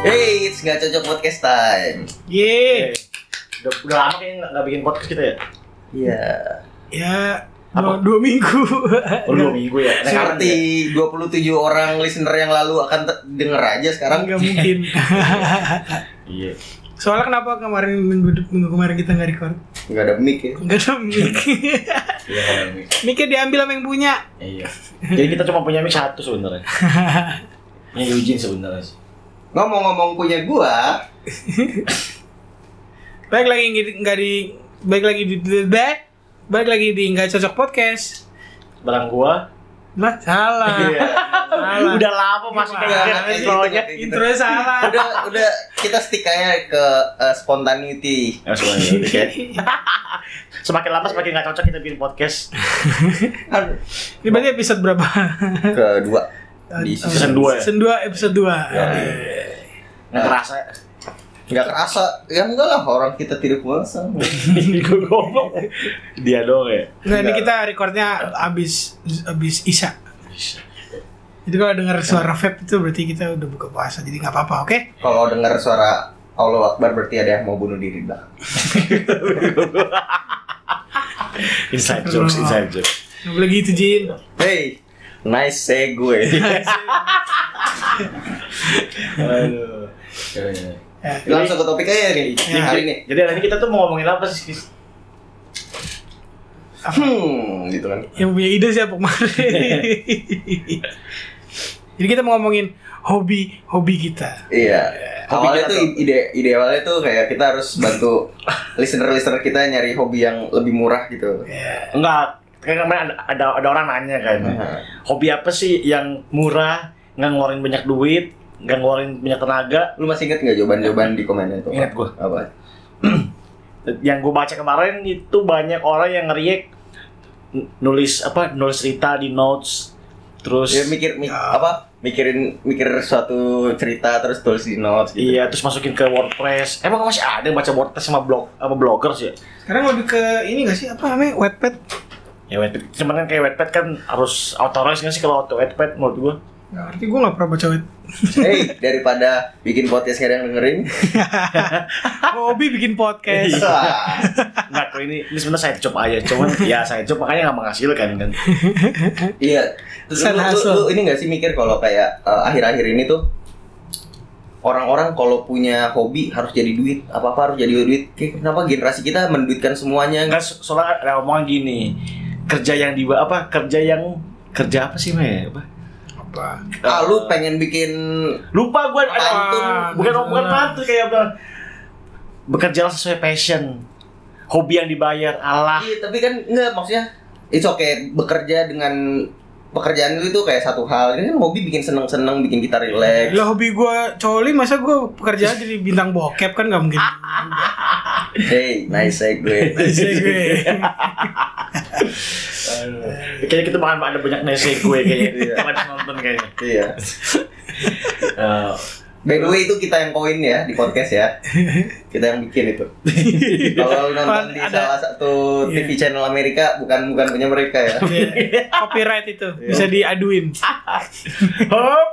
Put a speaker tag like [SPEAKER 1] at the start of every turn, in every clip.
[SPEAKER 1] Hey, it's nggak cocok podcast time.
[SPEAKER 2] Ye.
[SPEAKER 3] Eh, Udah, udah lama kayaknya nggak- nggak bikin podcast kita ya?
[SPEAKER 1] Iya.
[SPEAKER 2] Ya,
[SPEAKER 3] Apa?
[SPEAKER 2] dua, dua minggu.
[SPEAKER 3] Oh, dua minggu ya? Sekarang
[SPEAKER 1] Seperti 27 orang listener yang lalu akan te- denger aja sekarang.
[SPEAKER 2] Enggak mungkin.
[SPEAKER 3] Iya.
[SPEAKER 2] Soalnya kenapa kemarin minggu, minggu kemarin kita nggak record?
[SPEAKER 1] Nggak ada mic ya.
[SPEAKER 2] Enggak ada mic.
[SPEAKER 3] Iya, kalau ini.
[SPEAKER 2] Micnya diambil sama yang punya.
[SPEAKER 3] Iya. Jadi kita cuma punya mic satu sebenarnya. Ini Eugene sebenarnya sih.
[SPEAKER 1] Ngomong-ngomong punya gua,
[SPEAKER 2] Baik lagi nggak di- nggak di baik lagi di back. Baik lagi di nggak cocok podcast.
[SPEAKER 3] Barang gua.
[SPEAKER 2] Lah salah.
[SPEAKER 3] Iya.
[SPEAKER 2] salah.
[SPEAKER 3] Udah lama masih
[SPEAKER 2] Gimana?
[SPEAKER 3] kayak gini
[SPEAKER 1] Kayak gitu,
[SPEAKER 3] soalnya.
[SPEAKER 1] kayak gitu.
[SPEAKER 2] Intro salah.
[SPEAKER 1] udah udah kita stick aja ke eh, spontaneity.
[SPEAKER 3] Ya, sebenarnya, udah kayak- Semakin lama semakin nggak cocok kita bikin podcast
[SPEAKER 1] Aduh,
[SPEAKER 2] Ini berarti episode berapa?
[SPEAKER 1] Kedua di
[SPEAKER 3] season
[SPEAKER 1] season
[SPEAKER 3] dua ya?
[SPEAKER 2] Season 2 episode 2.
[SPEAKER 3] Nggak kerasa
[SPEAKER 1] nggak kerasa ya enggak lah orang kita tidak puasa
[SPEAKER 3] Gue goblok Dia doang ya?
[SPEAKER 2] Nah, ini kita recordnya abis abis Isya. Jadi kalau dengar suara vape itu berarti kita udah buka puasa. Jadi nggak apa-apa, oke?
[SPEAKER 1] kalau dengar suara Allah Akbar berarti ada yang mau bunuh diri dah
[SPEAKER 3] Inside jokes, inside jokes
[SPEAKER 2] Nggak boleh gitu, Jin.
[SPEAKER 1] hey nice segue
[SPEAKER 3] Aduh
[SPEAKER 2] Ya.
[SPEAKER 1] langsung ke topik aja nih hari ini
[SPEAKER 3] Jadi hari ini kita tuh mau ngomongin apa sih?
[SPEAKER 1] hmm gitu kan
[SPEAKER 2] Yang punya ide siapa kemarin? Jadi kita mau ngomongin hobi hobi kita.
[SPEAKER 1] Iya.
[SPEAKER 3] Hobi
[SPEAKER 1] Awalnya
[SPEAKER 3] kita
[SPEAKER 1] tuh
[SPEAKER 3] tuh.
[SPEAKER 1] ide ide awalnya tuh kayak kita harus bantu listener-listener kita nyari hobi yang lebih murah gitu.
[SPEAKER 2] Ya.
[SPEAKER 3] Enggak, kayak kemarin ada, ada, ada orang nanya kan,
[SPEAKER 1] Nah,
[SPEAKER 3] hobi apa sih yang murah, nggak ngeluarin banyak duit, nggak ngeluarin banyak tenaga?
[SPEAKER 1] lu masih inget nggak jawaban-jawaban di komennya tuh?
[SPEAKER 3] Ingat gua.
[SPEAKER 1] Apa?
[SPEAKER 3] Yang gue baca kemarin itu banyak orang yang ngeriak nulis apa nulis cerita di notes, terus
[SPEAKER 1] Ya mikir mi- apa? Mikirin mikir suatu cerita terus tulis di notes gitu.
[SPEAKER 3] iya terus masukin ke WordPress. Emang masih ada yang baca WordPress sama blog apa bloggers ya?
[SPEAKER 2] Sekarang lebih ke ini nggak sih apa namanya wetpad?
[SPEAKER 3] Ya Wattpad, cuman kan kayak Wattpad kan harus authorized nggak sih kalau auto Wattpad menurut gue?
[SPEAKER 2] Nggak ngerti gue nggak pernah baca wet.
[SPEAKER 1] Hey, daripada bikin podcast gak ada yang dengerin.
[SPEAKER 2] hobi bikin
[SPEAKER 1] Iya.
[SPEAKER 2] podcast.
[SPEAKER 1] Wah,
[SPEAKER 3] Nah, kalau ini ini sebenarnya saya coba aja, cuman ya saya coba makanya nggak menghasilkan kan.
[SPEAKER 1] Iya. Terus
[SPEAKER 2] Side
[SPEAKER 1] lu, lu-
[SPEAKER 2] hustle.
[SPEAKER 1] lu ini nggak sih mikir kalau kayak eh, akhir-akhir ini tuh orang-orang kalau punya hobi harus jadi duit, apa-apa harus jadi duit. Kayak kenapa generasi kita menduitkan semuanya?
[SPEAKER 3] Enggak so- soalnya ada omongan gini. Kerja yang di apa? Kerja yang kerja apa sih, Mei? Apa?
[SPEAKER 2] Apa?
[SPEAKER 1] Ah, lu pengen bikin
[SPEAKER 3] Lupa gua ada
[SPEAKER 1] Pantun.
[SPEAKER 3] bukan bukan pantun kayak bilang bekerjalah sesuai passion. Hobi yang dibayar Allah.
[SPEAKER 1] Iya, tapi kan enggak maksudnya it's okay bekerja dengan pekerjaan lu itu kayak satu hal. Ini kan hobi bikin seneng-seneng, bikin kita relax.
[SPEAKER 2] Lah hobi gue coli masa gue pekerjaan jadi bintang bokep kan nggak mungkin.
[SPEAKER 1] Hey, nice segue.
[SPEAKER 2] Nice
[SPEAKER 1] iya.
[SPEAKER 2] gue.
[SPEAKER 3] Kayaknya kita makan ada banyak nasi gue kayaknya. Cuma ada nonton kayaknya. Oh.
[SPEAKER 1] iya. By the way itu kita yang koin ya di podcast ya. Kita yang bikin itu. Kalau lu nonton di
[SPEAKER 2] Ada-
[SPEAKER 1] salah satu
[SPEAKER 2] Iya.
[SPEAKER 1] TV channel Amerika bukan bukan punya mereka ya.
[SPEAKER 2] Iya. Copyright itu
[SPEAKER 1] Iya.
[SPEAKER 2] bisa diaduin.
[SPEAKER 3] Hop.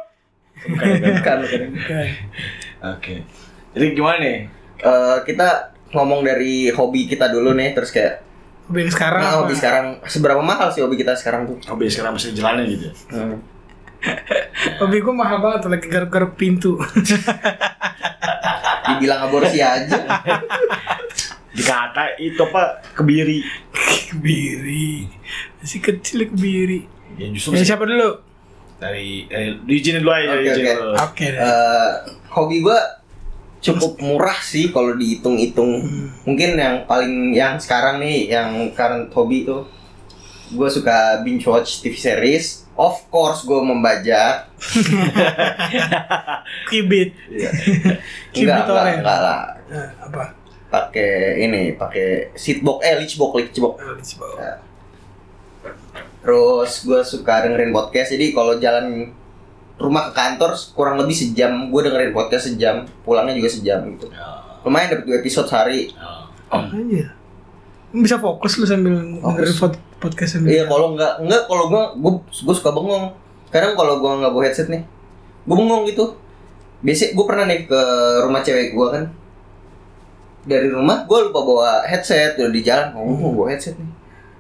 [SPEAKER 3] Bukan, bukan.
[SPEAKER 1] Bukan, bukan.
[SPEAKER 3] Oke. Jadi gimana nih?
[SPEAKER 1] Eh, kita ngomong dari hobi kita dulu nih terus kayak
[SPEAKER 2] Hobi yang sekarang
[SPEAKER 1] nah,
[SPEAKER 2] apa?
[SPEAKER 1] hobi sekarang seberapa mahal sih hobi kita sekarang tuh?
[SPEAKER 3] Hobi sekarang masih jalanin gitu.
[SPEAKER 2] Hmm. Hobi gue mahal banget lagi garuk-garuk pintu.
[SPEAKER 1] Dibilang aborsi aja.
[SPEAKER 3] Dikata itu apa kebiri.
[SPEAKER 2] kebiri. Masih kecil kebiri.
[SPEAKER 3] Ya justru
[SPEAKER 2] Ya, siapa dulu?
[SPEAKER 3] dari eh, diizinin dulu aja
[SPEAKER 1] Oke,
[SPEAKER 3] diizinin
[SPEAKER 1] oke.
[SPEAKER 3] dulu.
[SPEAKER 2] Oke deh.
[SPEAKER 1] Eh, hobi gua cukup murah sih kalau dihitung-hitung. Mungkin yang paling yang sekarang nih yang current hobi tuh gua suka binge watch TV series. Of course gua membaca.
[SPEAKER 2] Kibit.
[SPEAKER 1] iya. Enggak,
[SPEAKER 2] Kibit
[SPEAKER 1] enggak,
[SPEAKER 2] orang.
[SPEAKER 1] enggak lah.
[SPEAKER 2] Nah, apa?
[SPEAKER 1] Pakai ini, pakai seatbox eh leechbox, leechbox.
[SPEAKER 2] Eh, di bawah.
[SPEAKER 1] Terus gua suka dengerin podcast. Jadi kalau jalan rumah ke kantor kurang lebih sejam gua dengerin podcast sejam, pulangnya juga sejam gitu.
[SPEAKER 3] Ya,
[SPEAKER 1] Lumayan dapat dua episode sehari.
[SPEAKER 2] Anjir. Bisa fokus lu sambil dengerin pod- podcast sambil.
[SPEAKER 1] Iya kalau nggak nggak kalau gua gua gua suka bengong. Kadang kalau gua nggak bawa headset nih, gua bengong gitu. biasanya gue pernah nih ke rumah cewek gue kan dari rumah gue lupa bawa headset udah di jalan ngomong mau bawa headset nih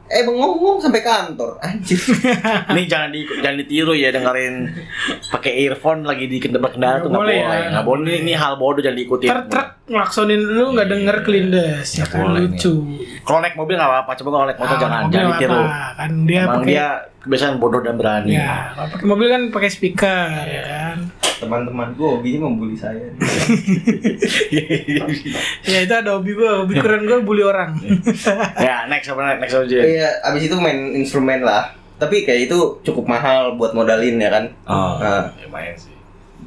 [SPEAKER 1] eh bengong-bengong sampai kantor anjir
[SPEAKER 3] Ini jangan di jangan ditiru ya dengerin pakai earphone lagi di kendaraan
[SPEAKER 2] Nggak
[SPEAKER 3] tuh nggak
[SPEAKER 2] boleh
[SPEAKER 3] boleh,
[SPEAKER 2] ya,
[SPEAKER 3] nggak
[SPEAKER 2] nggak
[SPEAKER 3] boleh. Ini hal bodoh jangan diikutin.
[SPEAKER 2] Ntar truk ngelaksonin lu nggak denger
[SPEAKER 1] Iya.
[SPEAKER 2] kelindes ya
[SPEAKER 3] Nggak
[SPEAKER 2] kan
[SPEAKER 3] boleh nih.
[SPEAKER 2] lucu.
[SPEAKER 3] Kalau naik mobil nggak apa-apa, coba kalau naik motor
[SPEAKER 2] Ah,
[SPEAKER 3] jangan
[SPEAKER 2] mobil
[SPEAKER 3] jangan
[SPEAKER 2] nggak
[SPEAKER 3] ditiru.
[SPEAKER 2] apa-apa. Kan dia
[SPEAKER 3] Emang
[SPEAKER 2] pakai
[SPEAKER 3] dia kebiasaan bodoh dan berani.
[SPEAKER 2] ya, kalau pakai mobil kan pakai speaker ya kan.
[SPEAKER 1] teman-teman gue hobinya membuli saya
[SPEAKER 2] Ya itu ada hobi gue, hobi keren gue bully orang.
[SPEAKER 3] ya, next apa next, next aja.
[SPEAKER 1] Iya, abis itu main instrumen lah. Tapi kayak itu cukup mahal buat modalin ya kan?
[SPEAKER 3] Oh,
[SPEAKER 1] Nah,
[SPEAKER 3] lumayan sih.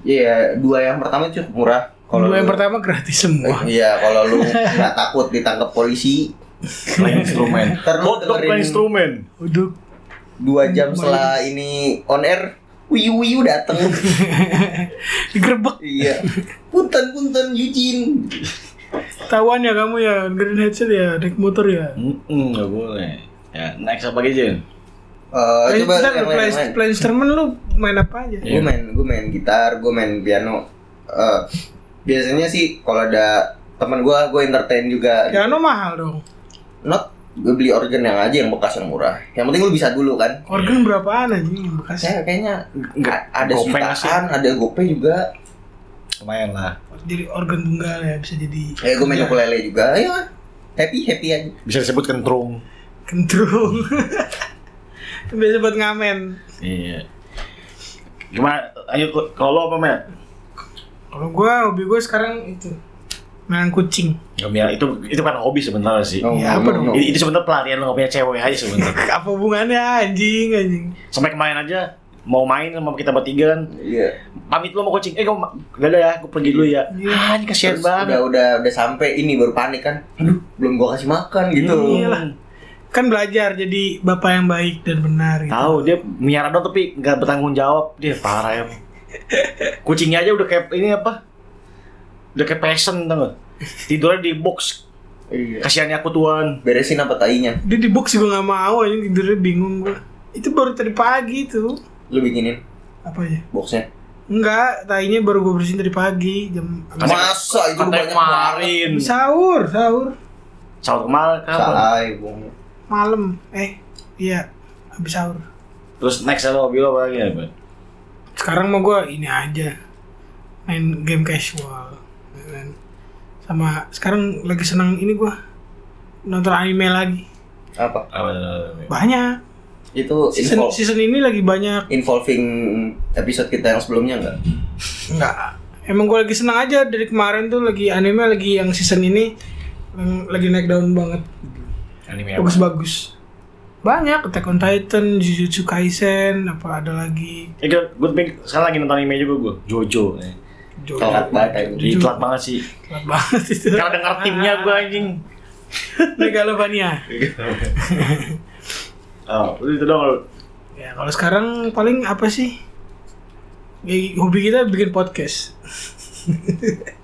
[SPEAKER 1] Iya, dua yang pertama cukup murah.
[SPEAKER 2] Dua yang
[SPEAKER 1] lu-
[SPEAKER 2] pertama gratis
[SPEAKER 1] Eh,
[SPEAKER 2] semua.
[SPEAKER 1] Iya, kalau lu nggak takut ditangkap polisi,
[SPEAKER 3] Main instrumen.
[SPEAKER 1] ntar lu
[SPEAKER 3] Bodoh kan
[SPEAKER 1] dengerin
[SPEAKER 3] main instrumen.
[SPEAKER 2] Udah
[SPEAKER 1] dua jam
[SPEAKER 2] Main.
[SPEAKER 1] setelah ini on air, wiyu wiyu dateng.
[SPEAKER 2] digerebek
[SPEAKER 1] iya, punten punten Yujin.
[SPEAKER 2] tawan ya kamu ya, dengerin headset ya, naik motor ya.
[SPEAKER 3] Mm-mm, nggak boleh. Ya, next apa lagi Jin?
[SPEAKER 1] Eh,
[SPEAKER 2] Eh,
[SPEAKER 1] coba
[SPEAKER 2] ntar
[SPEAKER 1] yang
[SPEAKER 2] lu play,
[SPEAKER 1] lain Iya. main.
[SPEAKER 2] play instrumen lu main apa aja?
[SPEAKER 1] Gue main, gue main gitar, gue main piano. Eh, biasanya sih kalau ada teman gue, gue entertain juga.
[SPEAKER 2] Piano Ya, anu mahal dong.
[SPEAKER 1] not gue beli organ yang aja yang bekas yang murah yang penting lu bisa dulu kan
[SPEAKER 2] Organ berapaan aja yang bekas?
[SPEAKER 1] saya kayaknya
[SPEAKER 3] Nggak,
[SPEAKER 1] ada
[SPEAKER 3] Gopeng
[SPEAKER 1] jutaan ada gope juga
[SPEAKER 3] lumayan lah.
[SPEAKER 2] Jadi organ tunggal ya bisa jadi. iya,
[SPEAKER 1] eh gue main ukulele juga ya happy happy aja
[SPEAKER 3] Bisa disebut kentrung.
[SPEAKER 2] Kentrung. Biasa buat ngamen.
[SPEAKER 3] Iya. Gimana? Ayo, kalau lo apa, Matt?
[SPEAKER 2] Kalau gua hobi gua sekarang itu main kucing.
[SPEAKER 3] Ngemil itu itu kan hobi sebenarnya sih.
[SPEAKER 1] Oh,
[SPEAKER 2] Ya,
[SPEAKER 1] no,
[SPEAKER 2] apa
[SPEAKER 1] no,
[SPEAKER 2] dong?
[SPEAKER 1] no.
[SPEAKER 3] Itu itu sebenarnya pelarian lo nggak punya cewek aja sebenarnya.
[SPEAKER 2] Apa hubungannya anjing anjing?
[SPEAKER 3] Sampai kemarin aja mau main sama kita bertiga kan
[SPEAKER 1] iya
[SPEAKER 3] pamit lo mau kucing eh gue gak ada ya gue pergi dulu ya
[SPEAKER 2] Iya.
[SPEAKER 3] ah ini
[SPEAKER 1] Terus
[SPEAKER 3] kasihan
[SPEAKER 1] udah
[SPEAKER 3] banget
[SPEAKER 1] udah udah sampai ini baru panik kan aduh belum gua kasih makan gitu
[SPEAKER 2] Iya lah. Kan belajar jadi bapak yang baik dan benar gitu.
[SPEAKER 3] tahu dia miara dong tapi nggak bertanggung jawab dia parah ya kucingnya aja udah kayak ini apa udah kayak passion tau gak tidurnya di box
[SPEAKER 1] iya
[SPEAKER 3] kasihannya aku tuan
[SPEAKER 1] beresin apa tainya
[SPEAKER 2] Dia di box juga nggak mau anjing tidurnya bingung gua. Itu baru tadi pagi tuh.
[SPEAKER 1] lu bikinin
[SPEAKER 2] Apa ya?
[SPEAKER 1] boxnya
[SPEAKER 2] Enggak, tainya baru gua bersihin tadi pagi jam
[SPEAKER 3] Kasih-
[SPEAKER 1] masa itu lu
[SPEAKER 3] katanya
[SPEAKER 1] banyak banget
[SPEAKER 3] kemarin
[SPEAKER 2] sahur, sahur
[SPEAKER 3] sahur kemarin kapan
[SPEAKER 1] salah ya, bohong
[SPEAKER 2] malam. Eh, iya habis sahur.
[SPEAKER 3] terus next ada hobi lo apa lagi ya Bang?
[SPEAKER 2] sekarang mau gue ini aja main game casual ya kan. sama sekarang lagi senang ini gue nonton anime lagi
[SPEAKER 1] apa
[SPEAKER 3] apa apa- apa-
[SPEAKER 2] banyak
[SPEAKER 1] itu
[SPEAKER 2] season
[SPEAKER 1] invol-
[SPEAKER 2] season ini lagi banyak
[SPEAKER 1] involving episode kita yang sebelumnya enggak
[SPEAKER 2] enggak emang gue lagi senang aja dari kemarin tuh lagi anime lagi yang season ini yang lagi naik daun banget
[SPEAKER 3] anime
[SPEAKER 1] Ya,
[SPEAKER 3] apa?
[SPEAKER 2] bagus-bagus banyak Attack on Titan, Jujutsu Kaisen, apa ada lagi
[SPEAKER 3] Eh, gue gue ping- sekarang lagi nonton anime juga gue Jojo eh.
[SPEAKER 2] Jojo.
[SPEAKER 1] telat banget ya, anjing.
[SPEAKER 3] Jadi telat banget sih
[SPEAKER 2] Telat banget itu.
[SPEAKER 3] Karena dengar timnya gue anjing.
[SPEAKER 2] Megalovania.
[SPEAKER 3] Oh, lu itu dong. lu.
[SPEAKER 2] Ya kalau sekarang paling apa sih? Ya, hobi kita bikin podcast.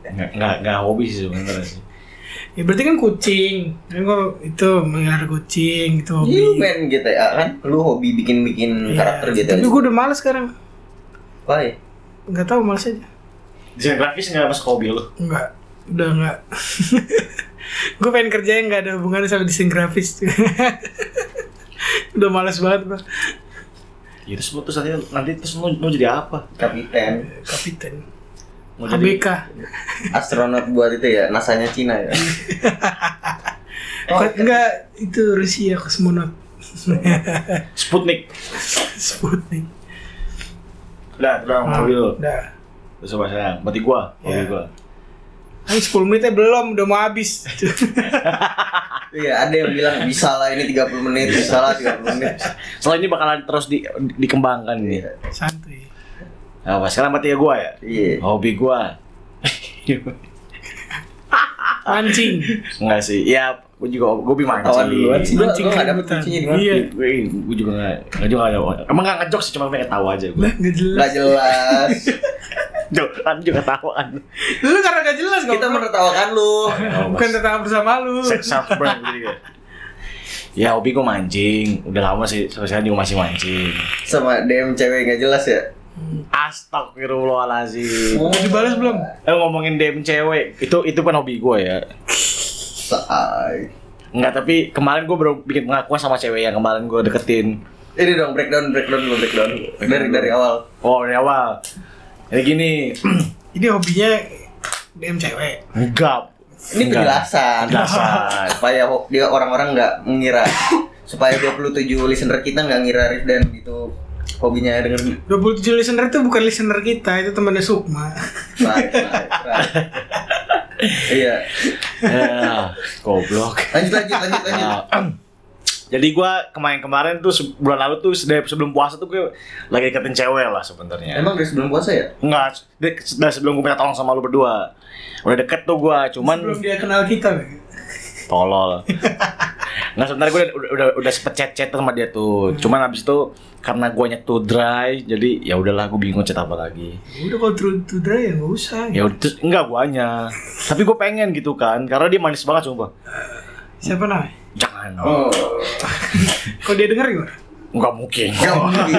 [SPEAKER 3] Nggak, nggak, nggak hobi sih sebenarnya sih.
[SPEAKER 2] Ya berarti kan kucing. Kan gua itu mengelihara kucing gitu
[SPEAKER 1] Iya, lu
[SPEAKER 2] hobi.
[SPEAKER 1] main GTA kan? Lu hobi bikin-bikin
[SPEAKER 2] Ya,
[SPEAKER 1] Iya, karakter gitu. GTA.
[SPEAKER 2] Tapi
[SPEAKER 1] Tapi
[SPEAKER 2] gue udah males sekarang.
[SPEAKER 1] Why?
[SPEAKER 2] Nggak tahu males aja.
[SPEAKER 3] Desain grafis nggak masuk hobi lu.
[SPEAKER 2] Nggak. Udah nggak. gue pengen kerja yang nggak ada hubungannya sama desain grafis. udah males banget gua.
[SPEAKER 3] Ya terus lu- terus nanti nanti terus lu mau jadi apa?
[SPEAKER 1] Kapiten,
[SPEAKER 2] Kapiten.
[SPEAKER 3] Mau jadi
[SPEAKER 2] ABK.
[SPEAKER 1] astronot buat itu ya, NASA-nya Cina ya. Oh,
[SPEAKER 2] Nggak, Nggak itu Rusia kosmonot.
[SPEAKER 3] Sputnik.
[SPEAKER 2] Sputnik.
[SPEAKER 3] Udah, udah
[SPEAKER 2] Ah,
[SPEAKER 3] hobi lu.
[SPEAKER 2] Udah.
[SPEAKER 3] Terus apa sekarang? Berarti gua, hobi
[SPEAKER 2] Iya.
[SPEAKER 3] gua.
[SPEAKER 2] Ini 10 Kan menitnya belum, udah mau habis.
[SPEAKER 1] Iya, ada yang bilang bisa lah ini 30 menit, bisa lah 30 menit.
[SPEAKER 3] Setelah ini bakalan terus di, di- dikembangkan ini.
[SPEAKER 2] Santuy.
[SPEAKER 3] Apa sekarang berarti ya gua ya?
[SPEAKER 1] Iya.
[SPEAKER 3] Hobi gua.
[SPEAKER 2] Mancing.
[SPEAKER 3] Enggak sih. Ya, gua juga gua hobi mancing.
[SPEAKER 1] Ketahuan duluan sih. Gua
[SPEAKER 2] Mancing
[SPEAKER 1] gua enggak dapet
[SPEAKER 2] keributan.
[SPEAKER 1] kuncinya di mana.
[SPEAKER 2] Iya.
[SPEAKER 3] Gue gue juga nggak nggak juga nggak emang nggak ngejok sih cuma pengen tahu aja gue.
[SPEAKER 2] Lah, gak jelas.
[SPEAKER 1] Enggak jelas.
[SPEAKER 3] Jokan kan juga tahuan.
[SPEAKER 2] Lu karena gak jelas kok.
[SPEAKER 1] Kita menertawakan lu.
[SPEAKER 3] Oh,
[SPEAKER 2] Bukan tetangga bersama lu.
[SPEAKER 3] self burn gitu ya. Ya hobi gue mancing, udah lama sih sampai sekarang juga masih mancing.
[SPEAKER 1] Sama DM cewek enggak jelas ya.
[SPEAKER 3] Astagfirullahalazim.
[SPEAKER 2] Udah dibalas belum?
[SPEAKER 3] Eh ngomongin DM cewek, itu itu kan hobi gue ya.
[SPEAKER 1] Say.
[SPEAKER 3] Enggak, tapi kemarin gue baru bikin pengakuan sama cewek yang kemarin gue deketin.
[SPEAKER 1] Ini dong breakdown, breakdown, dulu, breakdown dari dari awal.
[SPEAKER 3] Oh, dari awal. Jadi gini,
[SPEAKER 2] Jadi hobinya DM cewek.
[SPEAKER 3] enggak.
[SPEAKER 1] Ini penjelasan.
[SPEAKER 3] Penjelasan.
[SPEAKER 1] supaya ho- dia orang-orang nggak mengira supaya 27 listener kita nggak ngira Rifdan itu hobinya dengan
[SPEAKER 2] 27 listener itu bukan listener kita, itu temannya Sukma.
[SPEAKER 1] Right, right, right. iya
[SPEAKER 3] Ya, goblok.
[SPEAKER 1] lanjut lanjut lanjut lanjut
[SPEAKER 3] Nah, Jadi gua kemarin-kemarin tuh se- bulan lalu tuh se- dari sebelum puasa tuh gue lagi deketin cewek lah sebenarnya.
[SPEAKER 1] emang dari sebelum puasa ya
[SPEAKER 3] Enggak, se- de- dari sebelum gue minta tolong sama lu berdua. Udah deket tuh gua, cuman
[SPEAKER 2] Belum dia kenal kita. Be.
[SPEAKER 3] tolol. Nggak sebentar gue udah udah, udah, udah sempet chat-chat sama dia tuh. Cuman abis itu karena gue nyetu dry, jadi ya udahlah gue bingung chat apa lagi.
[SPEAKER 2] Udah kalau true to dry ya nggak usah.
[SPEAKER 3] Ya udah terus enggak guanya. Tapi gue pengen gitu kan, karena dia manis banget sumpah.
[SPEAKER 2] Siapa namanya?
[SPEAKER 3] Jangan.
[SPEAKER 1] oh
[SPEAKER 2] Kalau dia denger gimana?
[SPEAKER 3] Enggak mungkin.
[SPEAKER 1] nggak mungkin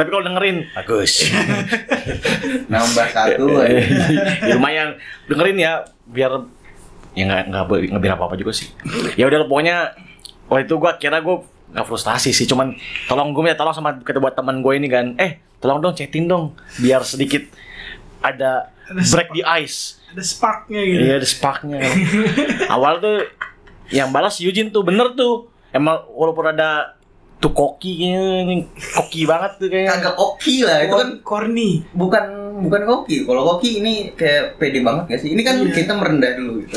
[SPEAKER 3] Tapi kalau dengerin bagus.
[SPEAKER 1] nambah satu
[SPEAKER 3] Eh,
[SPEAKER 1] aja.
[SPEAKER 3] ya lumayan dengerin ya biar ya nggak nggak be- nggak biar apa apa juga sih ya udah pokoknya waktu itu gua kira gua nggak frustasi sih cuman tolong gue minta tolong sama kedua teman gue ini kan eh tolong dong chatin dong biar sedikit ada
[SPEAKER 2] Ada
[SPEAKER 3] break the ice
[SPEAKER 2] Ada sparknya gitu.
[SPEAKER 3] Iya ada sparknya kan. Awal tuh yang balas Yujin tuh bener tuh. Emang walaupun ada tuh koki kayaknya, ini koki banget tuh kayaknya.
[SPEAKER 1] kagak oki lah itu kan
[SPEAKER 2] Cor- Nah, corny.
[SPEAKER 1] bukan bukan koki kalau koki ini kayak pede banget gak sih ini kan
[SPEAKER 2] Iya.
[SPEAKER 1] kita merendah dulu gitu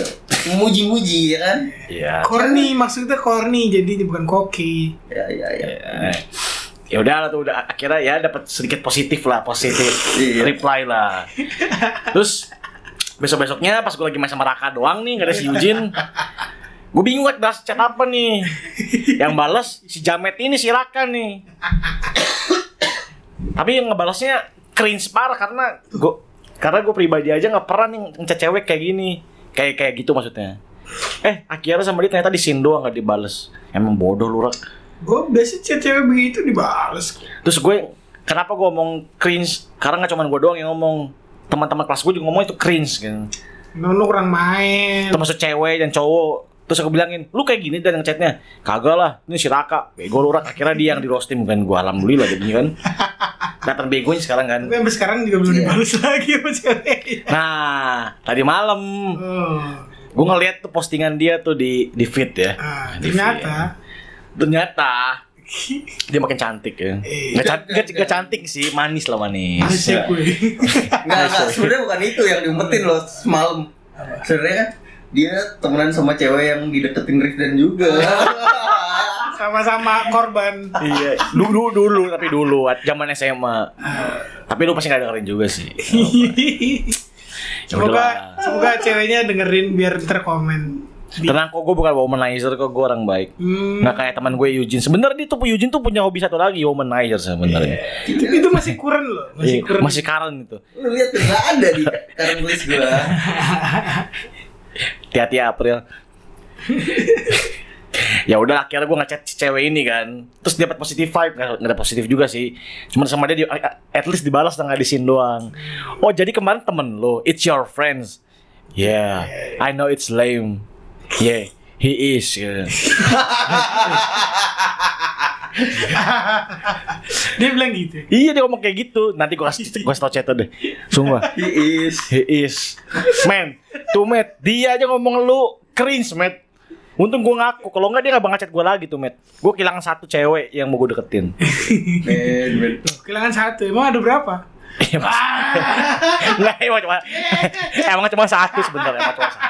[SPEAKER 1] muji-muji ya kan
[SPEAKER 3] Iya.
[SPEAKER 2] Corny maksudnya corny jadi bukan koki.
[SPEAKER 1] ya ya ya
[SPEAKER 2] Iya.
[SPEAKER 3] Eh, Ya udah lah tuh udah akhirnya ya dapat sedikit positif lah, positif
[SPEAKER 1] Iya.
[SPEAKER 3] reply lah. Terus besok-besoknya pas gue lagi main sama Raka doang nih, gak ada si Yujin. Gue bingung kan balas chat apa nih. Yang balas si Jamet ini si Raka nih. Tapi yang ngebalasnya cringe parah karena gue karena gue pribadi aja nggak pernah nih ngecat cewek kayak gini. Kayak kayak gitu maksudnya. Eh, akhirnya sama dia ternyata di sin doang gak dibales. Emang bodoh lu, Rak.
[SPEAKER 2] Gue biasanya chat cewek begitu dibales.
[SPEAKER 3] Terus gue kenapa gue ngomong cringe? Karena nggak cuma gue doang yang ngomong. Teman-teman kelas gue juga ngomong itu cringe kan.
[SPEAKER 2] Lu lu kurang main.
[SPEAKER 3] Termasuk cewek dan cowok. Terus aku bilangin, lu kayak gini dan yang chatnya Kagak lah, ini si Raka Bego lu Raka, akhirnya dia yang di roasting Bukan gue, alhamdulillah jadinya kan Kelihatan begonya sekarang kan
[SPEAKER 2] Tapi sampai sekarang juga belum
[SPEAKER 1] Iya.
[SPEAKER 2] dibales lagi sama
[SPEAKER 3] Iya.
[SPEAKER 2] cewek.
[SPEAKER 3] Nah, tadi malam
[SPEAKER 2] Oh.
[SPEAKER 3] Gue ngeliat tuh postingan dia tuh di, di feed ya
[SPEAKER 2] Ah,
[SPEAKER 3] Di feed.
[SPEAKER 2] ternyata
[SPEAKER 3] Ternyata Dia makin cantik ya
[SPEAKER 2] Eh,
[SPEAKER 3] Gak, can- gak- gak cantik sih, manis lah manis Ya.
[SPEAKER 2] Asik gue.
[SPEAKER 1] Enggak, enggak.
[SPEAKER 2] Iya.
[SPEAKER 1] Sebenarnya bukan itu yang diumpetin loh semalam. Sebenarnya kan dia temenan sama cewek yang dideketin Rifdan juga.
[SPEAKER 2] Sama-sama korban.
[SPEAKER 3] iya dulu dulu tapi dulu zaman SMA tapi lu pasti gak dengerin juga sih Iya. Ya
[SPEAKER 2] semoga
[SPEAKER 3] udahlah.
[SPEAKER 2] semoga ceweknya dengerin biar ntar komen. Di-
[SPEAKER 3] tenang kok gue bukan womanizer kok gue orang baik
[SPEAKER 2] Hmm,
[SPEAKER 3] nggak kayak teman gue Yujin sebenarnya dia tuh Yujin tuh punya hobi satu lagi womanizer sebenarnya
[SPEAKER 2] itu, itu masih kurang loh, Iya. masih
[SPEAKER 3] Iya,
[SPEAKER 2] kurang.
[SPEAKER 3] masih current itu
[SPEAKER 1] Lu lihat tuh enggak ada di karang tulis gua.
[SPEAKER 3] hati-hati ya, April ya udah akhirnya gue ngechat si cewek ini kan terus dia dapat positif vibe nggak nggak ada positif juga sih cuman sama dia di, at least dibalas nggak di scene doang oh jadi kemarin temen lo it's your friends yeah I know it's lame yeah he is yeah.
[SPEAKER 2] Dia bilang gitu.
[SPEAKER 3] iya dia ngomong kayak gitu nanti gue kasih gue tau chat deh sumpah
[SPEAKER 1] He is.
[SPEAKER 3] He is Man Tuh Matt Dia aja ngomong lu Cringe Matt Untung gue ngaku Kalau nggak dia nggak bakal chat gue lagi tuh Matt Gue kehilangan satu cewek Yang mau gue deketin
[SPEAKER 1] Man, man.
[SPEAKER 2] Kehilangan satu, emang ada berapa?
[SPEAKER 3] Iya, Mas. Nggak emang cuma Emang cuma satu sebenarnya Emang cuma satu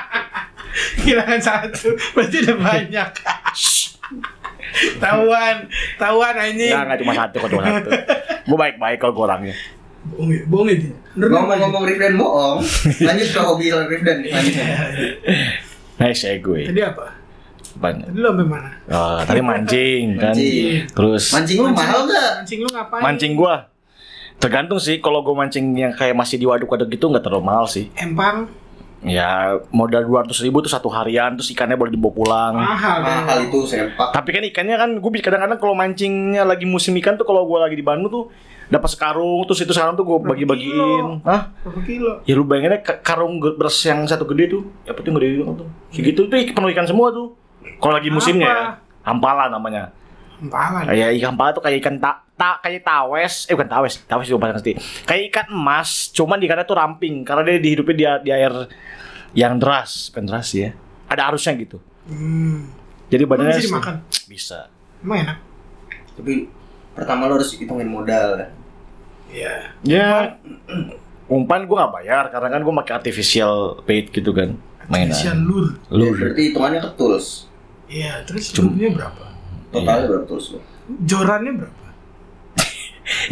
[SPEAKER 2] Kehilangan satu, berarti ada banyak. Tahuan, tahuan anjing.
[SPEAKER 3] Nggak nggak cuma satu Kok cuma satu Gue baik-baik kalau gue orangnya
[SPEAKER 2] Bohong ya, bohong ya dia. Bener
[SPEAKER 1] Ngomong-ngomong Rifdan bohong. Lanjut ke hobi Rifdan lanjut.
[SPEAKER 2] Iya.
[SPEAKER 3] Nice ya
[SPEAKER 2] dia.
[SPEAKER 3] gue
[SPEAKER 2] Tadi apa? Tadi lu sampai mana?
[SPEAKER 3] Oh, Tadi mancing kan
[SPEAKER 1] Mancing.
[SPEAKER 3] Terus
[SPEAKER 1] Mancing lu mahal enggak?
[SPEAKER 2] Mancing lu ngapain?
[SPEAKER 3] Mancing gue Tergantung sih Kalau gue mancing yang kayak masih di waduk-waduk gitu nggak terlalu mahal sih
[SPEAKER 2] Empang
[SPEAKER 3] Ya modal 200 ribu tuh satu harian Terus ikannya boleh dibawa pulang
[SPEAKER 2] mahal.
[SPEAKER 1] Mahal itu sempak.
[SPEAKER 3] Tapi kan ikannya kan gue kadang-kadang kalau mancingnya lagi musim ikan tuh kalau gue lagi di Bandung tuh dapat sekarung terus itu sekarang tuh gue bagi-bagiin
[SPEAKER 2] kilo?
[SPEAKER 3] Hah?
[SPEAKER 2] berapa kilo
[SPEAKER 3] ya lu bayanginnya ka- karung ge- beras yang satu gede tuh ya penting gede gitu tuh segitu tuh penuh ikan semua tuh kalau lagi musimnya
[SPEAKER 2] Nah, Apa?
[SPEAKER 3] ya hampala namanya
[SPEAKER 2] Empalan
[SPEAKER 3] kayak ikan pala tuh kayak ikan tak ta, kayak tawes eh bukan tawes tawes juga bahasa pasti kayak ikan emas cuman di ikannya tuh ramping karena dia dihidupin di, di air yang deras bukan deras sih ya ada arusnya gitu
[SPEAKER 2] hmm.
[SPEAKER 3] jadi
[SPEAKER 2] Emang
[SPEAKER 3] badannya
[SPEAKER 2] bisa dimakan
[SPEAKER 3] bisa
[SPEAKER 2] emang enak
[SPEAKER 1] Tapi pertama lo harus hitungin modal. ya.
[SPEAKER 2] iya
[SPEAKER 3] ya umpan gua nggak bayar karena kan gua pakai artificial bait gitu kan
[SPEAKER 2] Asian
[SPEAKER 3] mainan
[SPEAKER 2] lure
[SPEAKER 1] Ya,
[SPEAKER 3] lu
[SPEAKER 1] berarti hitungannya ke tools.
[SPEAKER 2] iya terus
[SPEAKER 3] Cuma-
[SPEAKER 2] lure-nya berapa
[SPEAKER 1] Totalnya berapa tools lo?
[SPEAKER 2] jorannya berapa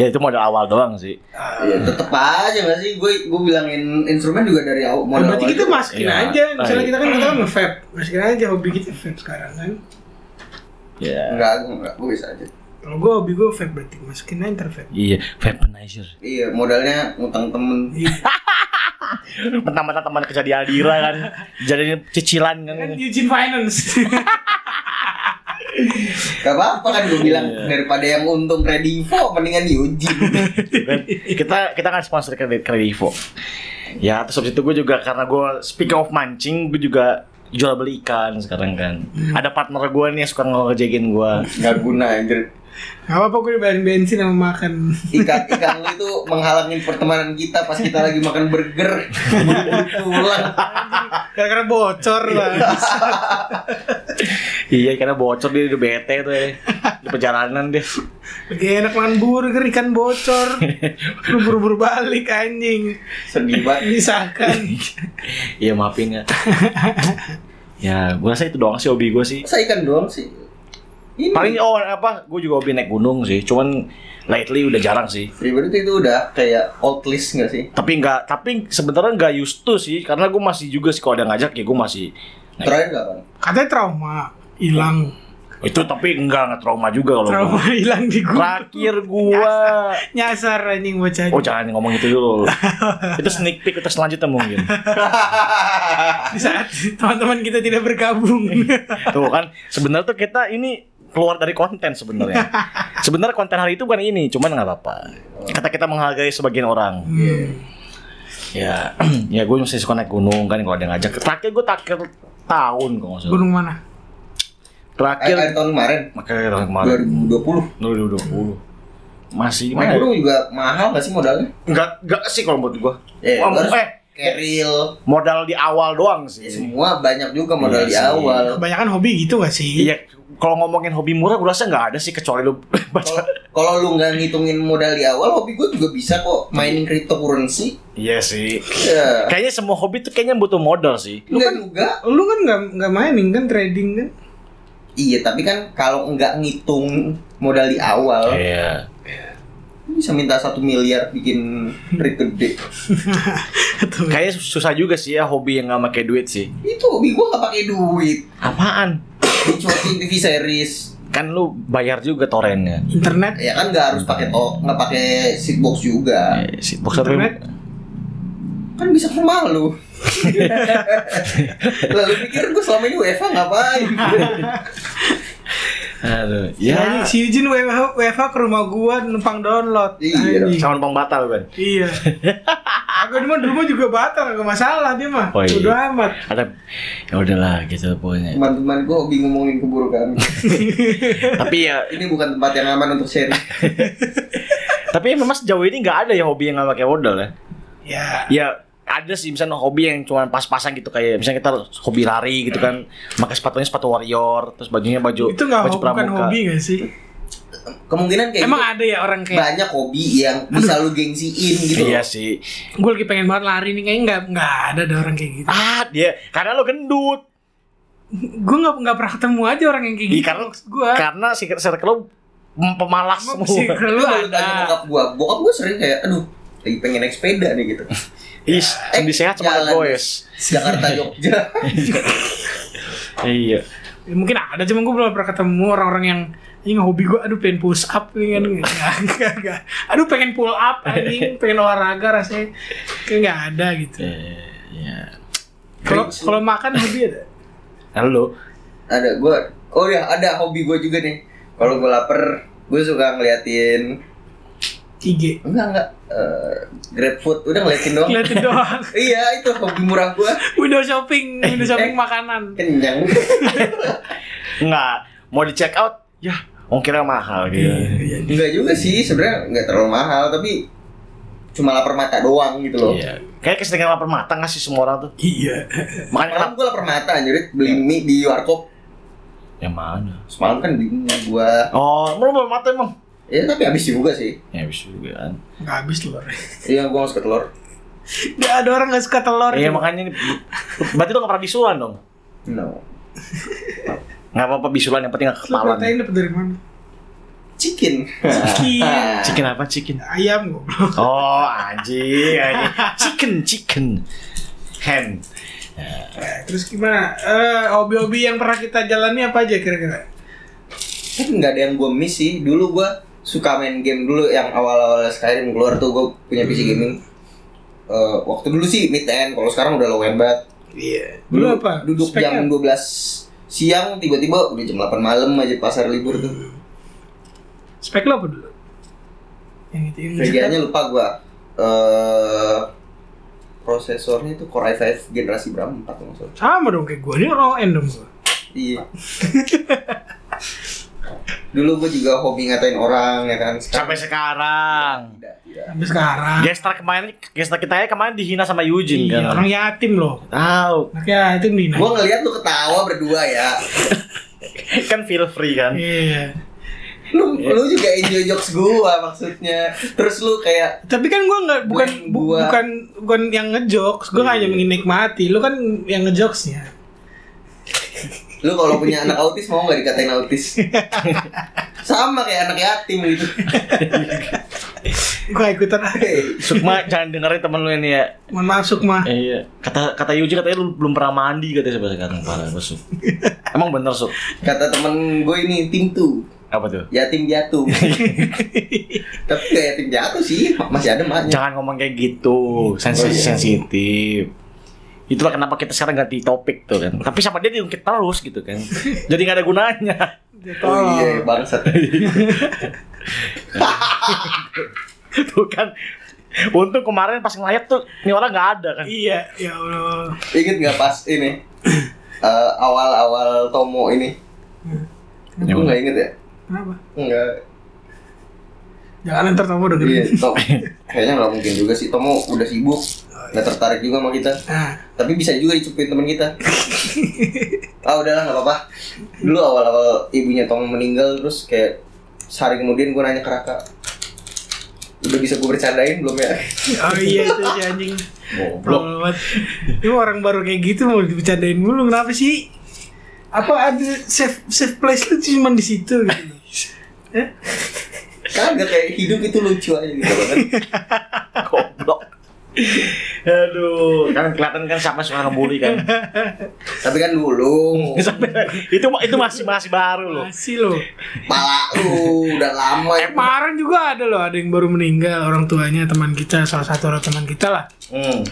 [SPEAKER 3] ya itu modal awal doang sih
[SPEAKER 1] Ya, tetep aja gak sih? Gue gue bilangin instrumen juga dari awal
[SPEAKER 2] Nah,
[SPEAKER 1] modal
[SPEAKER 2] berarti
[SPEAKER 1] awal
[SPEAKER 2] kita
[SPEAKER 1] juga.
[SPEAKER 2] masukin
[SPEAKER 3] Iya.
[SPEAKER 2] aja misalnya
[SPEAKER 3] Baik.
[SPEAKER 2] kita kan kita kan nge-vape masukin aja hobi kita vape sekarang kan
[SPEAKER 3] ya
[SPEAKER 1] Enggak, gue enggak, gue bisa aja.
[SPEAKER 2] kalau gue hobi gue vape berarti masukin aja ntar vape
[SPEAKER 3] iya vaporizer
[SPEAKER 1] Iya, modalnya ngutang temen.
[SPEAKER 2] Iya.
[SPEAKER 3] mentang-mentang teman kerja di Aldira kan jadi cicilan kan
[SPEAKER 2] kan Eugene Finance
[SPEAKER 1] Gak apa-apa kan gue bilang daripada yang untung Kredivo mendingan diuji.
[SPEAKER 3] gitu kan. kita kita kan sponsor kredit kredivo ya terus habis itu gue juga karena gue speaking of mancing gue juga jual beli ikan sekarang kan ada partner gue nih yang suka ngejekin gue
[SPEAKER 1] Gak guna anjir.
[SPEAKER 2] Gak apa-apa gue dibayarin bensin sama makan
[SPEAKER 1] Ikan ikan lu itu menghalangi pertemanan kita pas kita lagi makan burger. Buru-buru Pulang.
[SPEAKER 2] Gara-gara bocor lah
[SPEAKER 3] iya karena bocor dia udah bete tuh ya di perjalanan dia
[SPEAKER 2] Lagi enak makan burger ikan bocor Lu buru-buru balik anjing
[SPEAKER 1] Sedih banget.
[SPEAKER 2] Misalkan
[SPEAKER 3] iya maafin ya ya gue rasa itu doang sih hobi gue sih
[SPEAKER 1] Masa ikan doang sih? Ini.
[SPEAKER 3] paling oh apa gue juga hobi naik gunung sih cuman lately udah jarang sih
[SPEAKER 1] Ya, berarti itu udah kayak old list gak sih?
[SPEAKER 3] tapi nggak tapi sebenarnya nggak used to sih karena gue masih juga sih kalau ada ngajak ya gue masih naik
[SPEAKER 1] Terakhir gak kan?
[SPEAKER 2] Katanya trauma Hilang
[SPEAKER 3] "Oh, itu tapi enggak nggak trauma juga kalau gua.
[SPEAKER 2] Trauma hilang di gua
[SPEAKER 3] terakhir gua
[SPEAKER 2] Nyasar anjing bocah
[SPEAKER 3] oh jangan ngomong itu dulu itu sneak peek itu selanjutnya mungkin
[SPEAKER 2] Di saat teman-teman kita tidak bergabung
[SPEAKER 3] tuh kan sebenarnya tuh kita ini keluar dari konten sebenarnya sebenarnya konten hari itu bukan ini cuman nggak apa-apa kata kita menghargai sebagian orang ya ya gue masih suka naik gunung kan kalau ada yang ngajak terakhir gue terakhir tahun kok nggak salah.
[SPEAKER 2] Gunung mana?
[SPEAKER 1] Akhir,
[SPEAKER 3] terakhir
[SPEAKER 1] akhir tahun kemarin
[SPEAKER 3] makanya tahun kemarin
[SPEAKER 1] 2020.
[SPEAKER 3] 2020 masih
[SPEAKER 1] Main
[SPEAKER 3] mana ya?
[SPEAKER 1] gunung juga mahal gak sih modalnya?
[SPEAKER 3] nggak nggak sih kalau buat gue
[SPEAKER 1] Eh,
[SPEAKER 3] Wah,
[SPEAKER 1] lu harus
[SPEAKER 3] eh,
[SPEAKER 1] keril.
[SPEAKER 3] modal di awal doang sih
[SPEAKER 1] Ya, semua banyak juga modal
[SPEAKER 3] Iya
[SPEAKER 1] di
[SPEAKER 3] sih.
[SPEAKER 1] awal.
[SPEAKER 2] Kebanyakan hobi gitu gak sih?
[SPEAKER 3] Iya, kalau ngomongin hobi murah gue rasa nggak ada sih kecuali lu
[SPEAKER 1] Kalau-
[SPEAKER 3] baca.
[SPEAKER 1] Kalau lu nggak ngitungin modal di awal, hobi gue juga bisa kok mainin cryptocurrency.
[SPEAKER 3] Iya sih.
[SPEAKER 1] Ya.
[SPEAKER 3] Kayaknya semua hobi tuh kayaknya butuh modal sih.
[SPEAKER 1] Enggak juga.
[SPEAKER 2] Lu kan gak, nggak mining kan trading kan?
[SPEAKER 1] Iya, tapi kan kalau nggak ngitung modal di awal,
[SPEAKER 3] Iya.
[SPEAKER 1] bisa minta satu miliar bikin trik gede.
[SPEAKER 2] Atau
[SPEAKER 3] Kayaknya sus- susah juga sih ya hobi yang nggak pakai duit sih.
[SPEAKER 1] Itu hobi gue nggak pakai duit.
[SPEAKER 3] Apaan?
[SPEAKER 1] Dicuatin TV series.
[SPEAKER 3] Kan lu bayar juga torennya.
[SPEAKER 2] internet
[SPEAKER 1] Ya kan nggak harus pakai tok, nggak pakai seatbox
[SPEAKER 2] Iya.
[SPEAKER 1] juga.
[SPEAKER 3] Eh, si box apa?
[SPEAKER 2] Internet.
[SPEAKER 1] Kan bisa ke rumah lu. Lalu pikir gue selama ini WFH ngapain?
[SPEAKER 3] Aduh.
[SPEAKER 2] Ya,
[SPEAKER 3] Ya.
[SPEAKER 2] si Eugene WFH, WFH ke rumah gua numpang download.
[SPEAKER 1] Iya.
[SPEAKER 2] Anjing.
[SPEAKER 3] Sama numpang batal kan.
[SPEAKER 2] Iya. Aku di rumah- di rumah juga batal gak masalah dia mah.
[SPEAKER 3] Oh, iya.
[SPEAKER 2] Bodo amat.
[SPEAKER 3] Ada. Ya udahlah gitu pokoknya.
[SPEAKER 1] Teman-teman gue hobi ngomongin keburukan.
[SPEAKER 3] tapi ya,
[SPEAKER 1] Ini bukan tempat yang aman untuk sharing.
[SPEAKER 3] tapi memang sejauh ini nggak ada ya hobi yang nggak pakai modal ya.
[SPEAKER 2] Ya.
[SPEAKER 3] ya ada sih misalnya hobi yang cuma pas-pasan gitu kayak misalnya kita hobi lari gitu kan pakai sepatunya sepatu warrior terus bajunya baju
[SPEAKER 2] Itu gak
[SPEAKER 3] baju
[SPEAKER 2] bukan hobi gak sih?
[SPEAKER 1] Kemungkinan
[SPEAKER 3] Eh,
[SPEAKER 1] kayak
[SPEAKER 2] Emang
[SPEAKER 1] gitu,
[SPEAKER 2] ada ya orang kayak
[SPEAKER 1] banyak hobi yang bisa lu gengsiin gitu. loh.
[SPEAKER 3] iya sih
[SPEAKER 2] gue lagi pengen banget lari nih kayaknya nggak nggak ada ada orang kayak gitu.
[SPEAKER 3] ah dia karena lo gendut
[SPEAKER 2] Gue nggak nggak pernah ketemu aja orang yang kayak
[SPEAKER 3] Iya,
[SPEAKER 2] gitu.
[SPEAKER 3] karena-
[SPEAKER 2] gue
[SPEAKER 3] karena si circle lo mem- pemalas
[SPEAKER 2] Emang sih
[SPEAKER 3] semua
[SPEAKER 1] Lu
[SPEAKER 2] lu
[SPEAKER 1] kalau tanya
[SPEAKER 2] ada.
[SPEAKER 1] bokap gua, bokap gua sering kayak, aduh, lagi pengen naik sepeda nih gitu.
[SPEAKER 3] is sendi sehat sama
[SPEAKER 1] jalan.
[SPEAKER 3] goes
[SPEAKER 1] Jakarta Jogja.
[SPEAKER 3] iya
[SPEAKER 2] Ya, mungkin ada cuma gue belum pernah ketemu orang-orang yang ini hobi gue aduh pengen push up nih kan Nggak, nggak, nggak. aduh pengen pull up anjing pengen olahraga rasanya kayak nggak ada gitu
[SPEAKER 3] iya
[SPEAKER 2] kalau kalau makan hobi ada
[SPEAKER 3] halo
[SPEAKER 1] Ada gua, oh ya ada hobi gua juga nih. Kalau gua lapar, gua suka ngeliatin
[SPEAKER 2] IG.
[SPEAKER 1] Enggak enggak Eh, GrabFood udah ngeliatin doang.
[SPEAKER 2] Liatin doang.
[SPEAKER 1] iya, itu hobi murah gua.
[SPEAKER 2] Window shopping, window
[SPEAKER 1] Eh.
[SPEAKER 2] shopping makanan.
[SPEAKER 1] Kenyang.
[SPEAKER 3] Nggak, mau di check out, ya ongkirnya mahal gitu.
[SPEAKER 2] Iya.
[SPEAKER 1] Enggak juga sih, sebenarnya enggak terlalu mahal tapi cuma lapar mata doang gitu loh.
[SPEAKER 3] Iya. Kayak keseringan lapar mata nggak sih semua orang tuh?
[SPEAKER 2] Iya.
[SPEAKER 3] Makanya
[SPEAKER 1] Malam
[SPEAKER 3] kenapa?
[SPEAKER 1] gua lapar mata anjir, beli mie di warkop.
[SPEAKER 3] Yang mana?
[SPEAKER 1] Semalam kan beli mie gua.
[SPEAKER 3] Oh, emang lapar mata emang?
[SPEAKER 1] Ya tapi habis juga sih.
[SPEAKER 3] Ya bisa juga kan.
[SPEAKER 2] Nggak habis telur.
[SPEAKER 1] Iya, gua nggak suka telur.
[SPEAKER 2] Nggak ada orang nggak suka telur. gitu.
[SPEAKER 3] Iya
[SPEAKER 2] Cuma.
[SPEAKER 3] makanya ini, berarti lo nggak pernah bisulan dong?
[SPEAKER 1] No.
[SPEAKER 3] Nggak apa-apa bisulan yang penting nggak
[SPEAKER 2] Lu
[SPEAKER 3] kepalan.
[SPEAKER 2] protein dapat dari mana?
[SPEAKER 1] Chicken.
[SPEAKER 2] Chicken.
[SPEAKER 3] Chicken apa chicken?
[SPEAKER 2] Ayam goblok.
[SPEAKER 3] Oh anjing, anjing. chicken chicken hand.
[SPEAKER 2] Eh, Terus gimana? Eh, hobi-hobi yang pernah kita jalani apa aja kira-kira?
[SPEAKER 1] Tapi nggak ada yang gua miss sih. Dulu gua suka main game dulu yang awal-awal Skyrim keluar tuh gua punya
[SPEAKER 3] Hmm.
[SPEAKER 1] PC gaming. Eh, waktu dulu sih mid end, kalau sekarang udah low end banget.
[SPEAKER 2] Iya.
[SPEAKER 1] Dulu
[SPEAKER 2] Lu apa?
[SPEAKER 1] Duduk jam 12 siang tiba-tiba udah jam 8 malam aja pasar libur tuh.
[SPEAKER 2] Spek lo apa dulu? Yang itu yang
[SPEAKER 1] Kerjaannya lupa gua. Eh prosesornya itu Core i5 generasi berapa? 4 kalau nggak salah.
[SPEAKER 2] sama dong kayak gue ini orang end dong gue.
[SPEAKER 1] Iya. Dulu gue juga hobi ngatain orang ya kan.
[SPEAKER 3] Sampai sekarang.
[SPEAKER 1] tidak, tidak.
[SPEAKER 2] Sampai sekarang.
[SPEAKER 3] Gestar kemarin, gestar kita ya kemarin dihina sama
[SPEAKER 2] Iya,
[SPEAKER 3] Yujin kan. Ah,
[SPEAKER 2] orang yatim loh.
[SPEAKER 3] Tahu,
[SPEAKER 2] Anak yatim di
[SPEAKER 1] Gue ngeliat lu ketawa berdua ya.
[SPEAKER 3] kan feel free kan.
[SPEAKER 2] Iya.
[SPEAKER 1] Lu, lu juga enjoy jokes gue maksudnya. Terus lu kayak
[SPEAKER 2] Tapi kan gue nggak bukan
[SPEAKER 1] Yang
[SPEAKER 2] bu-
[SPEAKER 1] gua- Iya.
[SPEAKER 2] bukan bukan yang ngejokes. Gue hanya menikmati. Lu kan yang ngejokesnya.
[SPEAKER 1] lu kalau punya anak autis mau nggak dikatain autis? Sama kayak anak yatim gitu.
[SPEAKER 2] Gue ikutan. ah.
[SPEAKER 1] Hey,
[SPEAKER 3] Sukma jangan dengerin temen lu ini ya.
[SPEAKER 2] Mohon maaf
[SPEAKER 1] Oh,
[SPEAKER 2] Sukma.
[SPEAKER 3] Iya. Kata kata Yujin katanya lu belum pernah mandi katanya sampai sekarang parah gua, Suk. Emang bener Suk?
[SPEAKER 1] kata temen gue ini pintu
[SPEAKER 3] Apa tuh?
[SPEAKER 1] yatim jatuh. Tapi gak yatim jatuh sih, masih ada maknya.
[SPEAKER 3] Jangan ngomong kayak gitu, sensitif. sensitif. Itulah kenapa kita sekarang ganti topik tuh kan. Tapi sama dia diungkit terus gitu kan. Jadi nggak ada gunanya.
[SPEAKER 2] Dia
[SPEAKER 1] Oh iya,
[SPEAKER 2] tolong.
[SPEAKER 1] bangsat.
[SPEAKER 3] Tuh kan. Untung kemarin pas ngelayat tuh, ini orang nggak ada kan.
[SPEAKER 2] Iya, ya Allah.
[SPEAKER 1] Ingat nggak pas ini eh, awal-awal Tomo ini?
[SPEAKER 3] Ya,
[SPEAKER 1] Gue nggak inget ya.
[SPEAKER 2] Kenapa?
[SPEAKER 1] Enggak.
[SPEAKER 2] Jangan ntar kamu
[SPEAKER 1] Iya,
[SPEAKER 2] dengerin.
[SPEAKER 1] Tom. Kayaknya nggak mungkin juga sih. Tomo udah sibuk, nggak tertarik juga sama kita.
[SPEAKER 2] Nah,
[SPEAKER 1] Tapi bisa juga dicupin teman kita. ah udahlah nggak apa-apa. Dulu awal-awal ibunya Tomo meninggal terus kayak sehari kemudian gue nanya ke Raka, udah bisa gue bercandain belum ya?
[SPEAKER 2] oh iya itu si anjing.
[SPEAKER 3] Goblok.
[SPEAKER 2] Tolol banget. Ini orang baru kayak gitu mau dibicarain mulu kenapa sih? Apa ada safe safe place lu tuh cuma di situ gitu. Eh?
[SPEAKER 1] Kagak kayak hidup itu lucu aja gitu kan.
[SPEAKER 3] Goblok. Aduh, kan kelihatan kan sama suka ngebully kan.
[SPEAKER 1] Tapi kan dulu
[SPEAKER 3] itu itu masih masih baru loh.
[SPEAKER 2] Masih loh.
[SPEAKER 1] pala lu udah lama.
[SPEAKER 2] Eh, kemarin juga ada loh, ada yang baru meninggal orang tuanya teman kita, salah satu orang teman kita lah.
[SPEAKER 3] Hmm.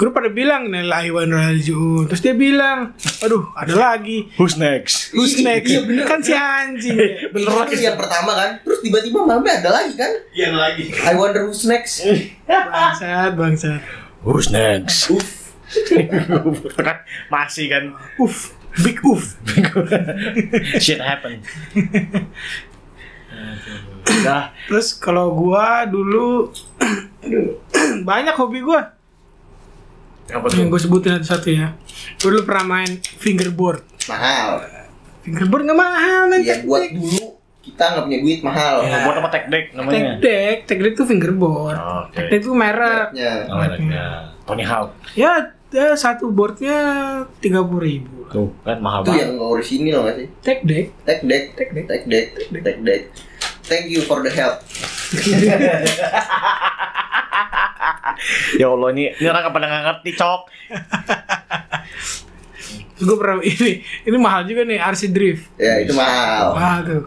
[SPEAKER 2] Grup pada bilang nilai wa inna ilaihi raji'un." Terus dia bilang, "Aduh, ada lagi."
[SPEAKER 3] Who's next?
[SPEAKER 2] Who's
[SPEAKER 1] Iya,
[SPEAKER 2] next?
[SPEAKER 1] iya, bener.
[SPEAKER 2] kan si anjing.
[SPEAKER 1] Bener itu yang pertama kan, terus tiba-tiba malamnya ada lagi kan?
[SPEAKER 3] Iya, Yang lagi.
[SPEAKER 1] I wonder who's next.
[SPEAKER 2] Bangsat, bangsat.
[SPEAKER 3] Who's next?
[SPEAKER 1] Uff.
[SPEAKER 3] kan masih kan
[SPEAKER 2] Uf, big uf.
[SPEAKER 3] shit happen. Udah.
[SPEAKER 2] Terus kalau gua dulu aduh, banyak hobi gua
[SPEAKER 3] Apa
[SPEAKER 2] yang gue sebutin satu-satu ya. Gue dulu pernah main fingerboard.
[SPEAKER 1] Mahal.
[SPEAKER 2] Fingerboard nggak mahal main
[SPEAKER 1] Iya
[SPEAKER 2] tek
[SPEAKER 1] buat
[SPEAKER 2] deck.
[SPEAKER 1] dulu kita nggak punya duit mahal.
[SPEAKER 3] Ya, buat apa tech deck
[SPEAKER 2] Tek
[SPEAKER 3] namanya? Oh,
[SPEAKER 2] deck, tek deck tuh fingerboard.
[SPEAKER 3] Oke.
[SPEAKER 2] Tek deck tuh merek.
[SPEAKER 1] Ya.
[SPEAKER 3] Oh, mereknya Tony Hawk.
[SPEAKER 2] Ya, ya satu boardnya tiga puluh ribu.
[SPEAKER 3] Tuh, kan mahal
[SPEAKER 1] Itu
[SPEAKER 3] banget.
[SPEAKER 1] yang nggak orisinil nggak sih?
[SPEAKER 2] Tek deck.
[SPEAKER 1] Tech deck,
[SPEAKER 2] Tech
[SPEAKER 1] tech
[SPEAKER 2] deck.
[SPEAKER 1] deck, tech deck, tech deck. Thank you for the help.
[SPEAKER 2] iya.
[SPEAKER 3] Ya Allah ini ini orang pada nggak ngerti cok.
[SPEAKER 2] Terus gue pernah ini, ini mahal juga nih RC drift.
[SPEAKER 1] Ya itu mahal.
[SPEAKER 2] Wah tuh,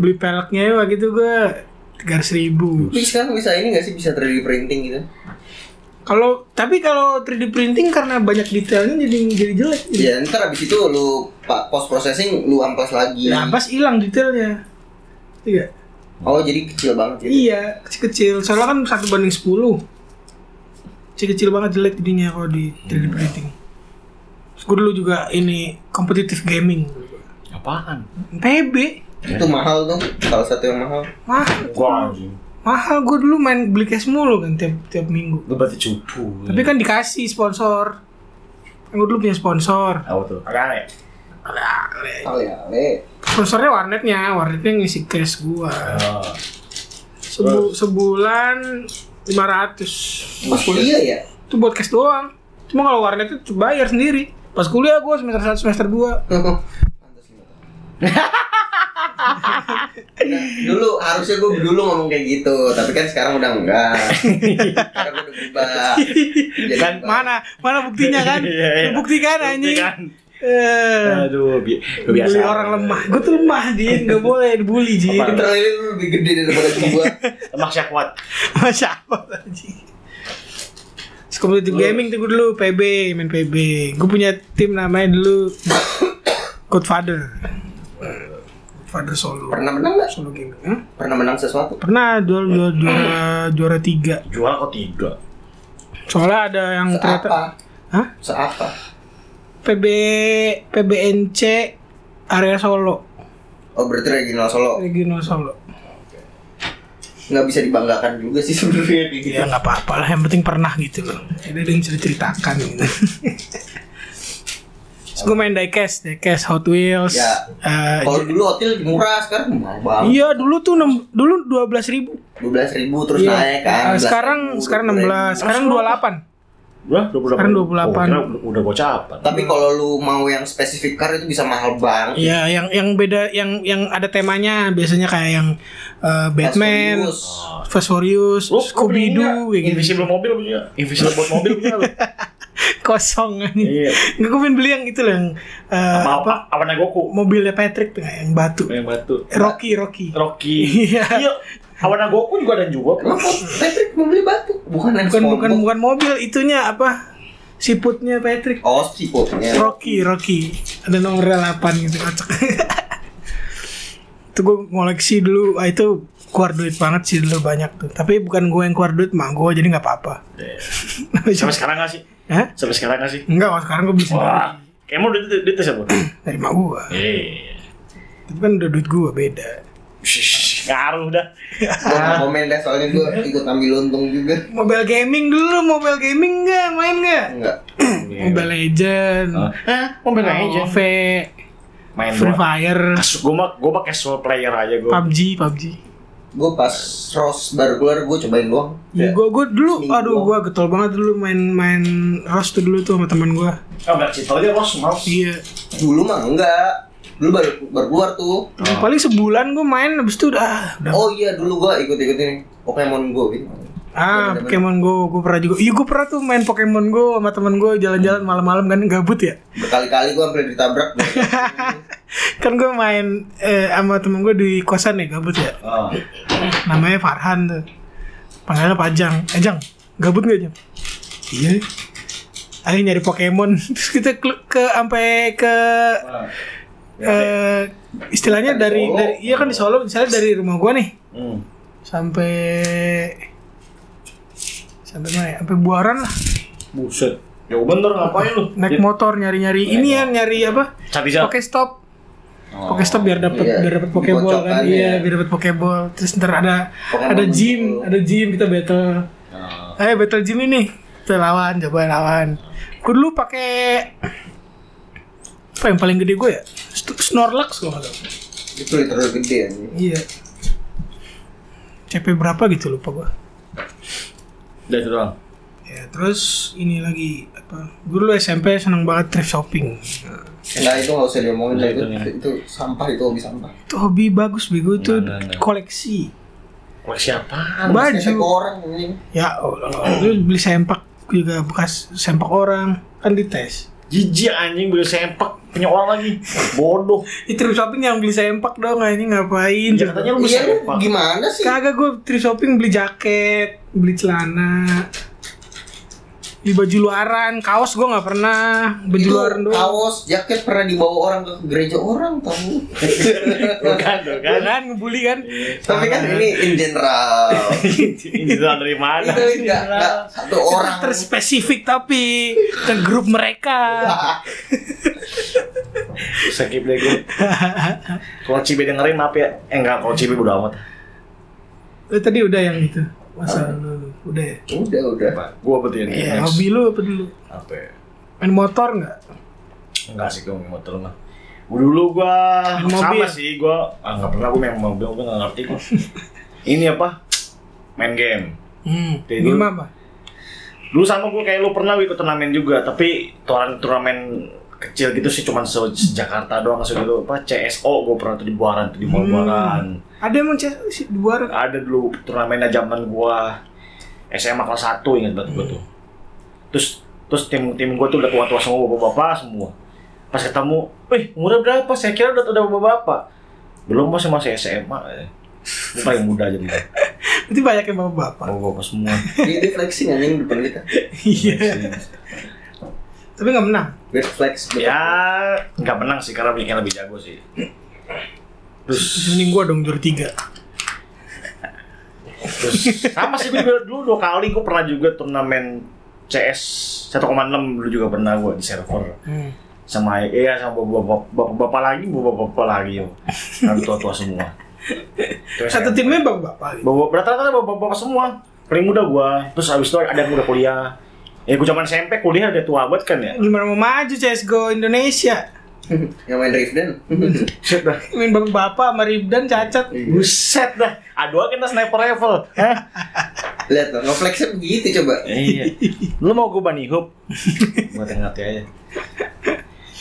[SPEAKER 2] beli peleknya ya gitu gue tiga ribu.
[SPEAKER 1] Tapi sekarang bisa ini nggak sih bisa 3D printing gitu?
[SPEAKER 2] Kalau tapi kalau 3D printing karena banyak detailnya jadi jadi jelek. Jadi
[SPEAKER 1] Ya ntar abis itu
[SPEAKER 2] Iya.
[SPEAKER 1] lu pa- post processing lu amplas lagi.
[SPEAKER 2] Nah, pas hilang detailnya. Iya.
[SPEAKER 1] Oh jadi kecil banget ya?
[SPEAKER 2] Iya, kecil-kecil. Soalnya kan satu banding 10. Kecil-kecil banget jelek jadinya kalau di 3D printing. Terus gue dulu juga ini competitive gaming.
[SPEAKER 3] Apaan?
[SPEAKER 2] PB.
[SPEAKER 1] Itu mahal tuh, salah satu yang mahal.
[SPEAKER 2] Mahal,
[SPEAKER 4] Wah anjing.
[SPEAKER 2] mahal gue dulu main beli cash mulu kan tiap tiap minggu.
[SPEAKER 4] Lu berarti cupu.
[SPEAKER 2] Tapi kan dikasih sponsor. Gue dulu punya sponsor.
[SPEAKER 4] Apa tuh? Agak ya?
[SPEAKER 1] Ale-ale.
[SPEAKER 2] Sponsornya warnetnya, warnetnya ngisi cash gua.
[SPEAKER 4] Oh.
[SPEAKER 2] Sebu sebulan 500.
[SPEAKER 1] Pas kuliah ya?
[SPEAKER 2] itu buat cash doang cuma kalau warnet itu bayar sendiri pas kuliah gue semester 1 semester 2
[SPEAKER 1] Pantes lima tahun. Nah, dulu harusnya gue dulu ngomong kayak gitu, tapi kan sekarang udah enggak. Karena gue udah berubah. Jadi
[SPEAKER 3] Kan
[SPEAKER 1] berubah.
[SPEAKER 2] mana mana buktinya kan
[SPEAKER 3] Iya, iya.
[SPEAKER 2] buktikan
[SPEAKER 3] Ini
[SPEAKER 2] anjing
[SPEAKER 3] kan.
[SPEAKER 2] eh
[SPEAKER 3] Aduh, bi biasa.
[SPEAKER 2] bully orang lemah gue tuh lemah jin nggak boleh dibully jin
[SPEAKER 1] Pinter ini lu lebih gede daripada gue.
[SPEAKER 3] Lemah syahwat.
[SPEAKER 2] masya allah anjing Terus competitive gaming tuh gue dulu PB main PB gue punya tim namanya dulu Godfather Godfather solo
[SPEAKER 1] Pernah menang nggak?
[SPEAKER 2] solo gaming Hmm?
[SPEAKER 1] Pernah menang sesuatu?
[SPEAKER 2] pernah juara juara juara- juara tiga
[SPEAKER 4] Jual kok tiga?
[SPEAKER 2] soalnya ada yang Hmm, ternyata
[SPEAKER 1] Seapa?
[SPEAKER 2] Hah?
[SPEAKER 1] Seapa?
[SPEAKER 2] PB PBNC area Solo
[SPEAKER 1] Oh berarti Regional Solo
[SPEAKER 2] regional Solo
[SPEAKER 1] nggak bisa dibanggakan juga sih sebenarnya kayak gitu.
[SPEAKER 2] ya nggak apa-apa lah yang penting pernah gitu loh jadi ada yang cerita ceritakan gitu Terus gue main diecast diecast Hot Wheels
[SPEAKER 1] Ya.
[SPEAKER 2] Eh,
[SPEAKER 1] Kalau dulu hotel murah sekarang mahal banget.
[SPEAKER 2] iya dulu tuh enam- dulu dua belas ribu Iya. Eh,
[SPEAKER 1] Dua belas ribu terus naik kan.
[SPEAKER 2] Ah, sekarang sekarang enam belas sekarang dua delapan
[SPEAKER 3] Udah 28.
[SPEAKER 2] Sekarang 28.
[SPEAKER 3] Oh, kira udah bocah apa?
[SPEAKER 1] Tapi kalau lu mau yang spesifik car itu bisa mahal banget.
[SPEAKER 2] Iya, yang yang beda yang yang ada temanya biasanya kayak yang eh, Batman,
[SPEAKER 1] Fast Furious.
[SPEAKER 2] Fast Furious,
[SPEAKER 3] Lu
[SPEAKER 2] Scooby Doo, kayak gitu.
[SPEAKER 3] Invisible mobil punya. Invisible bot mobil punya lu.
[SPEAKER 2] kosong kan
[SPEAKER 3] Iya.
[SPEAKER 2] Nggak, gue pengen beli yang itu loh yang eh,
[SPEAKER 3] Apa
[SPEAKER 2] apa
[SPEAKER 3] apa apa Nagoku?
[SPEAKER 2] mobilnya Patrick tuh yang batu.
[SPEAKER 3] Yang batu.
[SPEAKER 2] Rocky Rocky.
[SPEAKER 3] Rocky.
[SPEAKER 2] Iya.
[SPEAKER 3] Iya. Awan Nagoku juga ada juga.
[SPEAKER 1] Kenapa Patrick mau beli batu? Bukan yang
[SPEAKER 2] Bukan bukan
[SPEAKER 1] SpongeBob.
[SPEAKER 2] bukan mobil itunya apa? Siputnya Patrick.
[SPEAKER 1] Oh si popnya.
[SPEAKER 2] Rocky Rocky. Ada nomornya 8 gitu kocak. itu gue ngoleksi dulu ah, itu keluar duit banget sih dulu banyak tuh tapi bukan gue yang keluar duit mah gue jadi nggak apa-apa
[SPEAKER 3] Sampai sekarang nggak sih?
[SPEAKER 2] Hah?
[SPEAKER 3] Sampai sekarang nggak sih?
[SPEAKER 2] Enggak, kalau sekarang gue beli sendiri
[SPEAKER 3] Iya. Wah. Kamu udah di tes apa?
[SPEAKER 2] dari mak gue.
[SPEAKER 3] Eh.
[SPEAKER 2] Tapi kan udah duit gue beda.
[SPEAKER 3] Ngaruh dah.
[SPEAKER 1] Gua nggak komen deh soalnya gue
[SPEAKER 2] Iya.
[SPEAKER 1] ikut ambil untung juga.
[SPEAKER 2] Mobile gaming dulu, mobile gaming nggak main nggak?
[SPEAKER 1] Enggak.
[SPEAKER 2] Mobile Legend,
[SPEAKER 3] Iya, Hah? Mobil aja.
[SPEAKER 2] WoW,
[SPEAKER 3] Main
[SPEAKER 2] Free
[SPEAKER 3] doang.
[SPEAKER 2] Fire,
[SPEAKER 3] Kasus gue mah gue mah casual player aja gue.
[SPEAKER 2] PUBG, PUBG.
[SPEAKER 1] Gue pas Rose baru keluar gue cobain doang.
[SPEAKER 2] Ya,
[SPEAKER 3] Iya.
[SPEAKER 2] gue gue dulu,
[SPEAKER 1] Seminggu.
[SPEAKER 2] aduh gue getol banget dulu main-main Rust tuh dulu tuh sama teman gue.
[SPEAKER 3] Ah, nggak cerita aja bos, mouse.
[SPEAKER 2] Iya.
[SPEAKER 1] Dulu mah enggak. Dulu baru baru keluar tuh.
[SPEAKER 3] Oh.
[SPEAKER 2] Paling sebulan gue main, abis itu udah ah, udah.
[SPEAKER 1] Oh iya dulu gue ikut-ikut ini Pokemon Go gitu.
[SPEAKER 2] Ah,
[SPEAKER 1] bener-bener.
[SPEAKER 2] Pokemon Go, gue pernah juga. Iya, gue pernah tuh main Pokemon Go sama temen gue jalan-jalan malam-malam kan gabut ya.
[SPEAKER 1] Berkali-kali gue hampir ditabrak.
[SPEAKER 2] Kan gue main eh, sama temen gue di kosan ya gabut ya.
[SPEAKER 3] Ah.
[SPEAKER 4] Oh.
[SPEAKER 2] namanya Farhan tuh panggilannya Pajang eh Jang gabut gak Jang iya ayo nyari Pokemon terus kita kelu- ke sampai ke eh, istilahnya
[SPEAKER 1] Kan di
[SPEAKER 2] dari,
[SPEAKER 1] Solo.
[SPEAKER 2] dari iya kan di Solo misalnya dari rumah gua nih
[SPEAKER 4] Hmm.
[SPEAKER 2] sampai sampai mana ya? sampai Buaran lah
[SPEAKER 3] Buset. Jauh bener Ya ngapain
[SPEAKER 1] Iya.
[SPEAKER 3] lu? Iya.
[SPEAKER 2] naik motor nyari nyari ini ya nyari apa
[SPEAKER 3] Cari jalan.
[SPEAKER 2] Pokestop Pokestop biar dapat
[SPEAKER 1] Iya.
[SPEAKER 2] biar dapat Pokeball kan
[SPEAKER 1] Dipocokan,
[SPEAKER 2] iya
[SPEAKER 1] ya.
[SPEAKER 2] biar dapat Pokeball terus ntar ada
[SPEAKER 1] Pokemon
[SPEAKER 2] ada
[SPEAKER 1] muncul.
[SPEAKER 2] gym ada gym kita battle
[SPEAKER 3] Ah. Oh.
[SPEAKER 2] ayo battle gym ini kita lawan coba lawan gue dulu pakai apa yang paling gede gue ya St- Snorlax gue kalau
[SPEAKER 1] itu literally gede ya.
[SPEAKER 2] iya CP berapa gitu lupa gue
[SPEAKER 3] Udah itu doang.
[SPEAKER 2] ya terus ini lagi apa gue dulu SMP seneng banget thrift shopping
[SPEAKER 1] Nah itu nggak usah diomongin
[SPEAKER 3] Nah,
[SPEAKER 1] lah itu,
[SPEAKER 3] itu nih.
[SPEAKER 1] itu sampah itu hobi sampah.
[SPEAKER 2] itu hobi bagus bego itu
[SPEAKER 3] Nah, nah, nah.
[SPEAKER 2] koleksi
[SPEAKER 3] Koleksi apaan?
[SPEAKER 1] Saya ke
[SPEAKER 2] baju
[SPEAKER 1] orang ini.
[SPEAKER 2] ya Allah lu beli sempak juga bekas sempak orang kan dites
[SPEAKER 3] Jijik anjing beli sempak punya orang lagi. Bodoh.
[SPEAKER 2] Di thrift shopping yang beli sempak dong ini ngapain?
[SPEAKER 3] Ya, katanya lu beli
[SPEAKER 1] Iya lu
[SPEAKER 3] sempak.
[SPEAKER 1] gimana sih?
[SPEAKER 2] Kagak gue thrift shopping beli jaket, beli celana. di baju luaran kaos gue nggak pernah baju
[SPEAKER 1] Itu
[SPEAKER 2] luaran doang
[SPEAKER 1] kaos jaket pernah dibawa orang ke gereja orang tahu
[SPEAKER 3] Bukan, bukan.
[SPEAKER 2] kan ngebully kan
[SPEAKER 1] tapi kan ini in general
[SPEAKER 3] Ini dari
[SPEAKER 2] Iya,
[SPEAKER 3] mana?
[SPEAKER 1] itu enggak enggak satu orang
[SPEAKER 2] Kan terspesifik tapi ke grup mereka
[SPEAKER 1] Ah,
[SPEAKER 3] Skip deh gue. Kalau Cibe dengerin maaf ya. Eh enggak, kalau Cibe udah amat.
[SPEAKER 2] Lu Eh, tadi udah yang itu masa lalu udah ya
[SPEAKER 1] udah udah
[SPEAKER 3] Gue berarti ini.
[SPEAKER 2] Iya,
[SPEAKER 3] next.
[SPEAKER 2] hobi lu apa dulu
[SPEAKER 3] Apa ya?
[SPEAKER 2] main motor nggak
[SPEAKER 3] Enggak sih, gue main motor mah. Gua Dulu gua
[SPEAKER 2] Main mobil.
[SPEAKER 3] sama sih, gua ah, nggak pernah gua main mobil, gua nggak ngerti gua. Ini apa? Main game.
[SPEAKER 2] hmm.
[SPEAKER 3] Dari
[SPEAKER 2] ini
[SPEAKER 3] dulu.
[SPEAKER 2] mah apa
[SPEAKER 3] Dulu sama gua kayak lu pernah gua ikut turnamen juga, tapi turnamen turnamen kecil gitu sih cuman se, se- Jakarta doang se gitu apa CSO gua pernah tuh di Buaran tuh di Mall
[SPEAKER 2] Hmm.
[SPEAKER 3] Buaran.
[SPEAKER 2] ada emang cewek sih di luar
[SPEAKER 3] Ada dulu turnamennya zaman gua SMA kelas 1 ingat banget gua
[SPEAKER 2] Hmm.
[SPEAKER 3] tuh. Terus terus tim tim gua tuh udah tua-tua semua bapak-bapak semua. Pas ketemu, "Wih, umurnya berapa? Saya kira udah udah bapak-bapak." Belum masih masih SMA. eh. Gua paling muda aja nih.
[SPEAKER 2] itu banyak yang bapak bapak
[SPEAKER 3] Bapak-bapak semua.
[SPEAKER 1] dia, dia flexing anjing depan kita
[SPEAKER 2] iya tapi nggak menang
[SPEAKER 1] Good flex betul.
[SPEAKER 3] ya, nggak menang sih karena bikin lebih jago sih. Terus
[SPEAKER 2] mending gua dong juara tiga
[SPEAKER 3] Terus sama sih gue juga dulu dua kali gue pernah juga turnamen CS 1,6 dulu juga pernah gue di server
[SPEAKER 2] hmm.
[SPEAKER 3] sama iya sama bapak- bapak bapak lagi bapak bapak lagi yo Yang tua tua semua terus
[SPEAKER 2] satu timnya bapak bapak gitu.
[SPEAKER 3] bapak rata-rata bapak bapak semua paling muda gue terus abis itu ada yang udah kuliah ya gue zaman SMP kuliah udah tua banget kan ya
[SPEAKER 2] gimana mau maju CSGO Indonesia
[SPEAKER 1] yang main Rifden
[SPEAKER 3] buset dah
[SPEAKER 2] main bapak bapak sama Ribdan cacat
[SPEAKER 3] Iya. buset dah aduh kita sniper level Hah?
[SPEAKER 1] lihat tuh ngeflexnya begitu coba
[SPEAKER 3] iya lu mau gue bani hoop gue tengati aja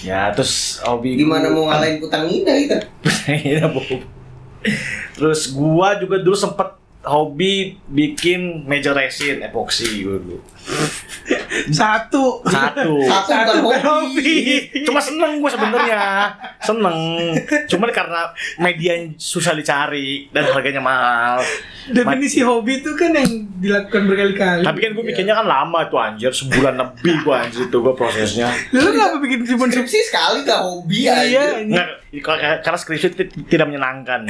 [SPEAKER 3] ya terus hobi
[SPEAKER 1] gimana
[SPEAKER 3] gua-
[SPEAKER 1] mau ngalahin gitu? kutang Ida kita
[SPEAKER 3] Iya, Bob. Terus gua juga dulu sempet hobi bikin meja resin epoxy gua dulu.
[SPEAKER 2] satu
[SPEAKER 3] Satu.
[SPEAKER 1] satu bukan
[SPEAKER 2] bukan
[SPEAKER 1] hobi
[SPEAKER 3] Cuma seneng gua sebenarnya, seneng. Cuman karena media yang susah dicari dan harganya mahal.
[SPEAKER 2] definisi hobi itu kan yang dilakukan berkali-kali
[SPEAKER 3] Tapi kan gua bikinnya kan lama tuh anjir, sebulan lebih gua anjir tuh gua prosesnya.
[SPEAKER 2] lu kenapa bikin cuma sub
[SPEAKER 1] konsumsi sekali gak hobi
[SPEAKER 2] iya
[SPEAKER 1] aja
[SPEAKER 2] ini.
[SPEAKER 3] Nggak, karena karena skripsi itu tidak menyenangkan.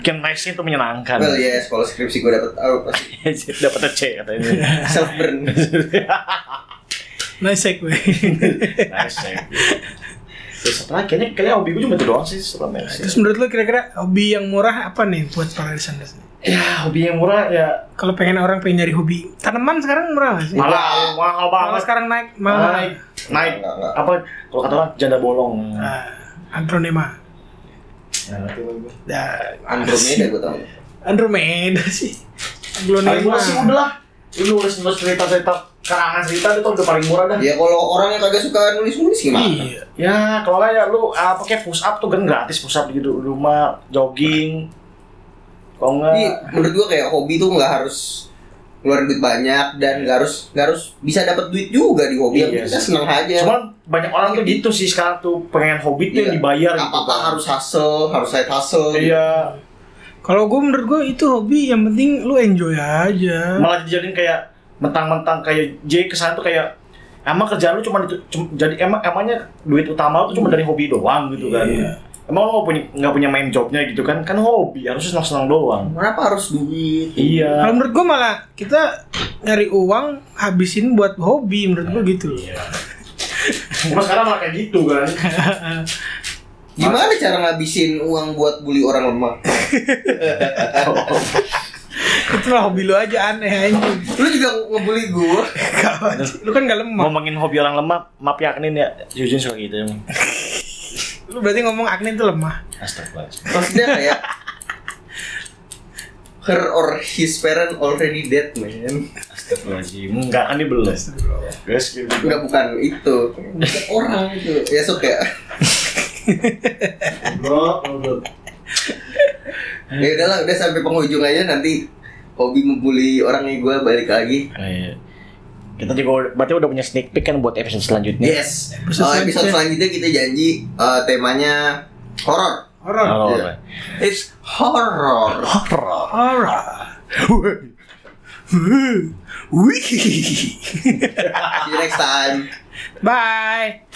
[SPEAKER 3] Bikin resin itu menyenangkan.
[SPEAKER 1] well yes kalau skripsi gue dapet oh, pasti
[SPEAKER 3] Dapat C katanya.
[SPEAKER 1] self burn
[SPEAKER 2] nice segue
[SPEAKER 3] Nice ya. Terus apa lagi? Kayaknya, kayaknya hobi gue cuma itu doang sih setelah
[SPEAKER 1] Nah,
[SPEAKER 3] mes.
[SPEAKER 2] terus menurut lu kira-kira hobi yang murah apa nih buat para listener
[SPEAKER 3] Ya hobi yang murah ya
[SPEAKER 2] kalau pengen orang pengen nyari hobi tanaman sekarang murah gak sih
[SPEAKER 1] Mahal.
[SPEAKER 3] malah mahal
[SPEAKER 2] Malah
[SPEAKER 3] banget.
[SPEAKER 2] sekarang naik mahal
[SPEAKER 3] Naik, naik.
[SPEAKER 1] Enggak, enggak.
[SPEAKER 3] Apa? Kalau kata orang janda bolong.
[SPEAKER 2] Ah, Andromeda
[SPEAKER 3] Nah, nanti gue.
[SPEAKER 2] Dah,
[SPEAKER 1] Andromeda gue tau
[SPEAKER 2] Andromeda sih
[SPEAKER 3] Paling
[SPEAKER 2] Glonema
[SPEAKER 3] murah sih udah lah. Lu nulis nulis cerita cerita karangan cerita itu udah paling murah dah.
[SPEAKER 1] ya kalau orang yang kagak suka nulis-nulis gimana
[SPEAKER 2] iya
[SPEAKER 3] Ya kalau nggak ya lu apa kayak push up tuh kan gratis push up di ru- rumah jogging. Kalau
[SPEAKER 1] Jadi
[SPEAKER 3] nggak
[SPEAKER 1] menurut gue kayak hobi tuh nggak harus keluar duit banyak dan nggak harus nggak harus bisa dapat duit juga di hobi.
[SPEAKER 3] Iya
[SPEAKER 1] Yang kita
[SPEAKER 3] sih.
[SPEAKER 1] senang aja.
[SPEAKER 3] Cuman banyak orang tuh gitu sih sekarang tuh pengen hobi tuh yang
[SPEAKER 1] Iya.
[SPEAKER 3] dibayar gitu.
[SPEAKER 1] apa apa harus hustle, harus side hustle.
[SPEAKER 3] Iya,
[SPEAKER 2] Kalau gue menurut gue itu hobi yang penting lu enjoy aja.
[SPEAKER 3] malah dijadiin kayak mentang-mentang kayak J kesan tuh kayak emang kerjaan lu cuma itu cum- jadi emang emangnya duit utama lu tuh cuma dari hobi doang gitu kan
[SPEAKER 2] Iya.
[SPEAKER 3] emang lu nggak punya nggak punya main jobnya gitu kan kan hobi harusnya senang senang doang
[SPEAKER 1] Kenapa harus duit?
[SPEAKER 3] iya
[SPEAKER 2] Kalau menurut gue malah kita nyari uang habisin buat hobi menurut gue gitu loh.
[SPEAKER 3] Iya. cuma sekarang malah kayak gitu kan
[SPEAKER 1] Gimana cara ngabisin uang buat bully orang lemah?
[SPEAKER 2] Itulah hobi lu aja aneh anjing.
[SPEAKER 1] Lu juga ngebully gue.
[SPEAKER 2] Lu kan gak lemah.
[SPEAKER 3] ngomongin hobi orang lemah maaf ya Agnin ya Jujun suka gitu emang
[SPEAKER 2] Lu berarti ngomong Agni itu lemah.
[SPEAKER 3] astagfirullah
[SPEAKER 1] Maksudnya kayak her or his parent already dead man.
[SPEAKER 3] astagfirullahaladzim enggak kan dia belum guys gitu
[SPEAKER 1] Udah bukan itu, bukan orang itu. Ya sok ya. Ya udahlah, udah sampai penghujung aja nanti hobi membuli orang yang gue balik lagi.
[SPEAKER 3] Ah, iya. kita juga berarti udah punya sneak peek kan buat episode selanjutnya
[SPEAKER 1] Yes.
[SPEAKER 2] Episode
[SPEAKER 1] Uh, episode selanjutnya kita janji uh, temanya horor.
[SPEAKER 2] Horor.
[SPEAKER 3] Halo,
[SPEAKER 1] It's horror.
[SPEAKER 3] horror
[SPEAKER 2] Horor. Wih.
[SPEAKER 1] See you next time.
[SPEAKER 2] Bye.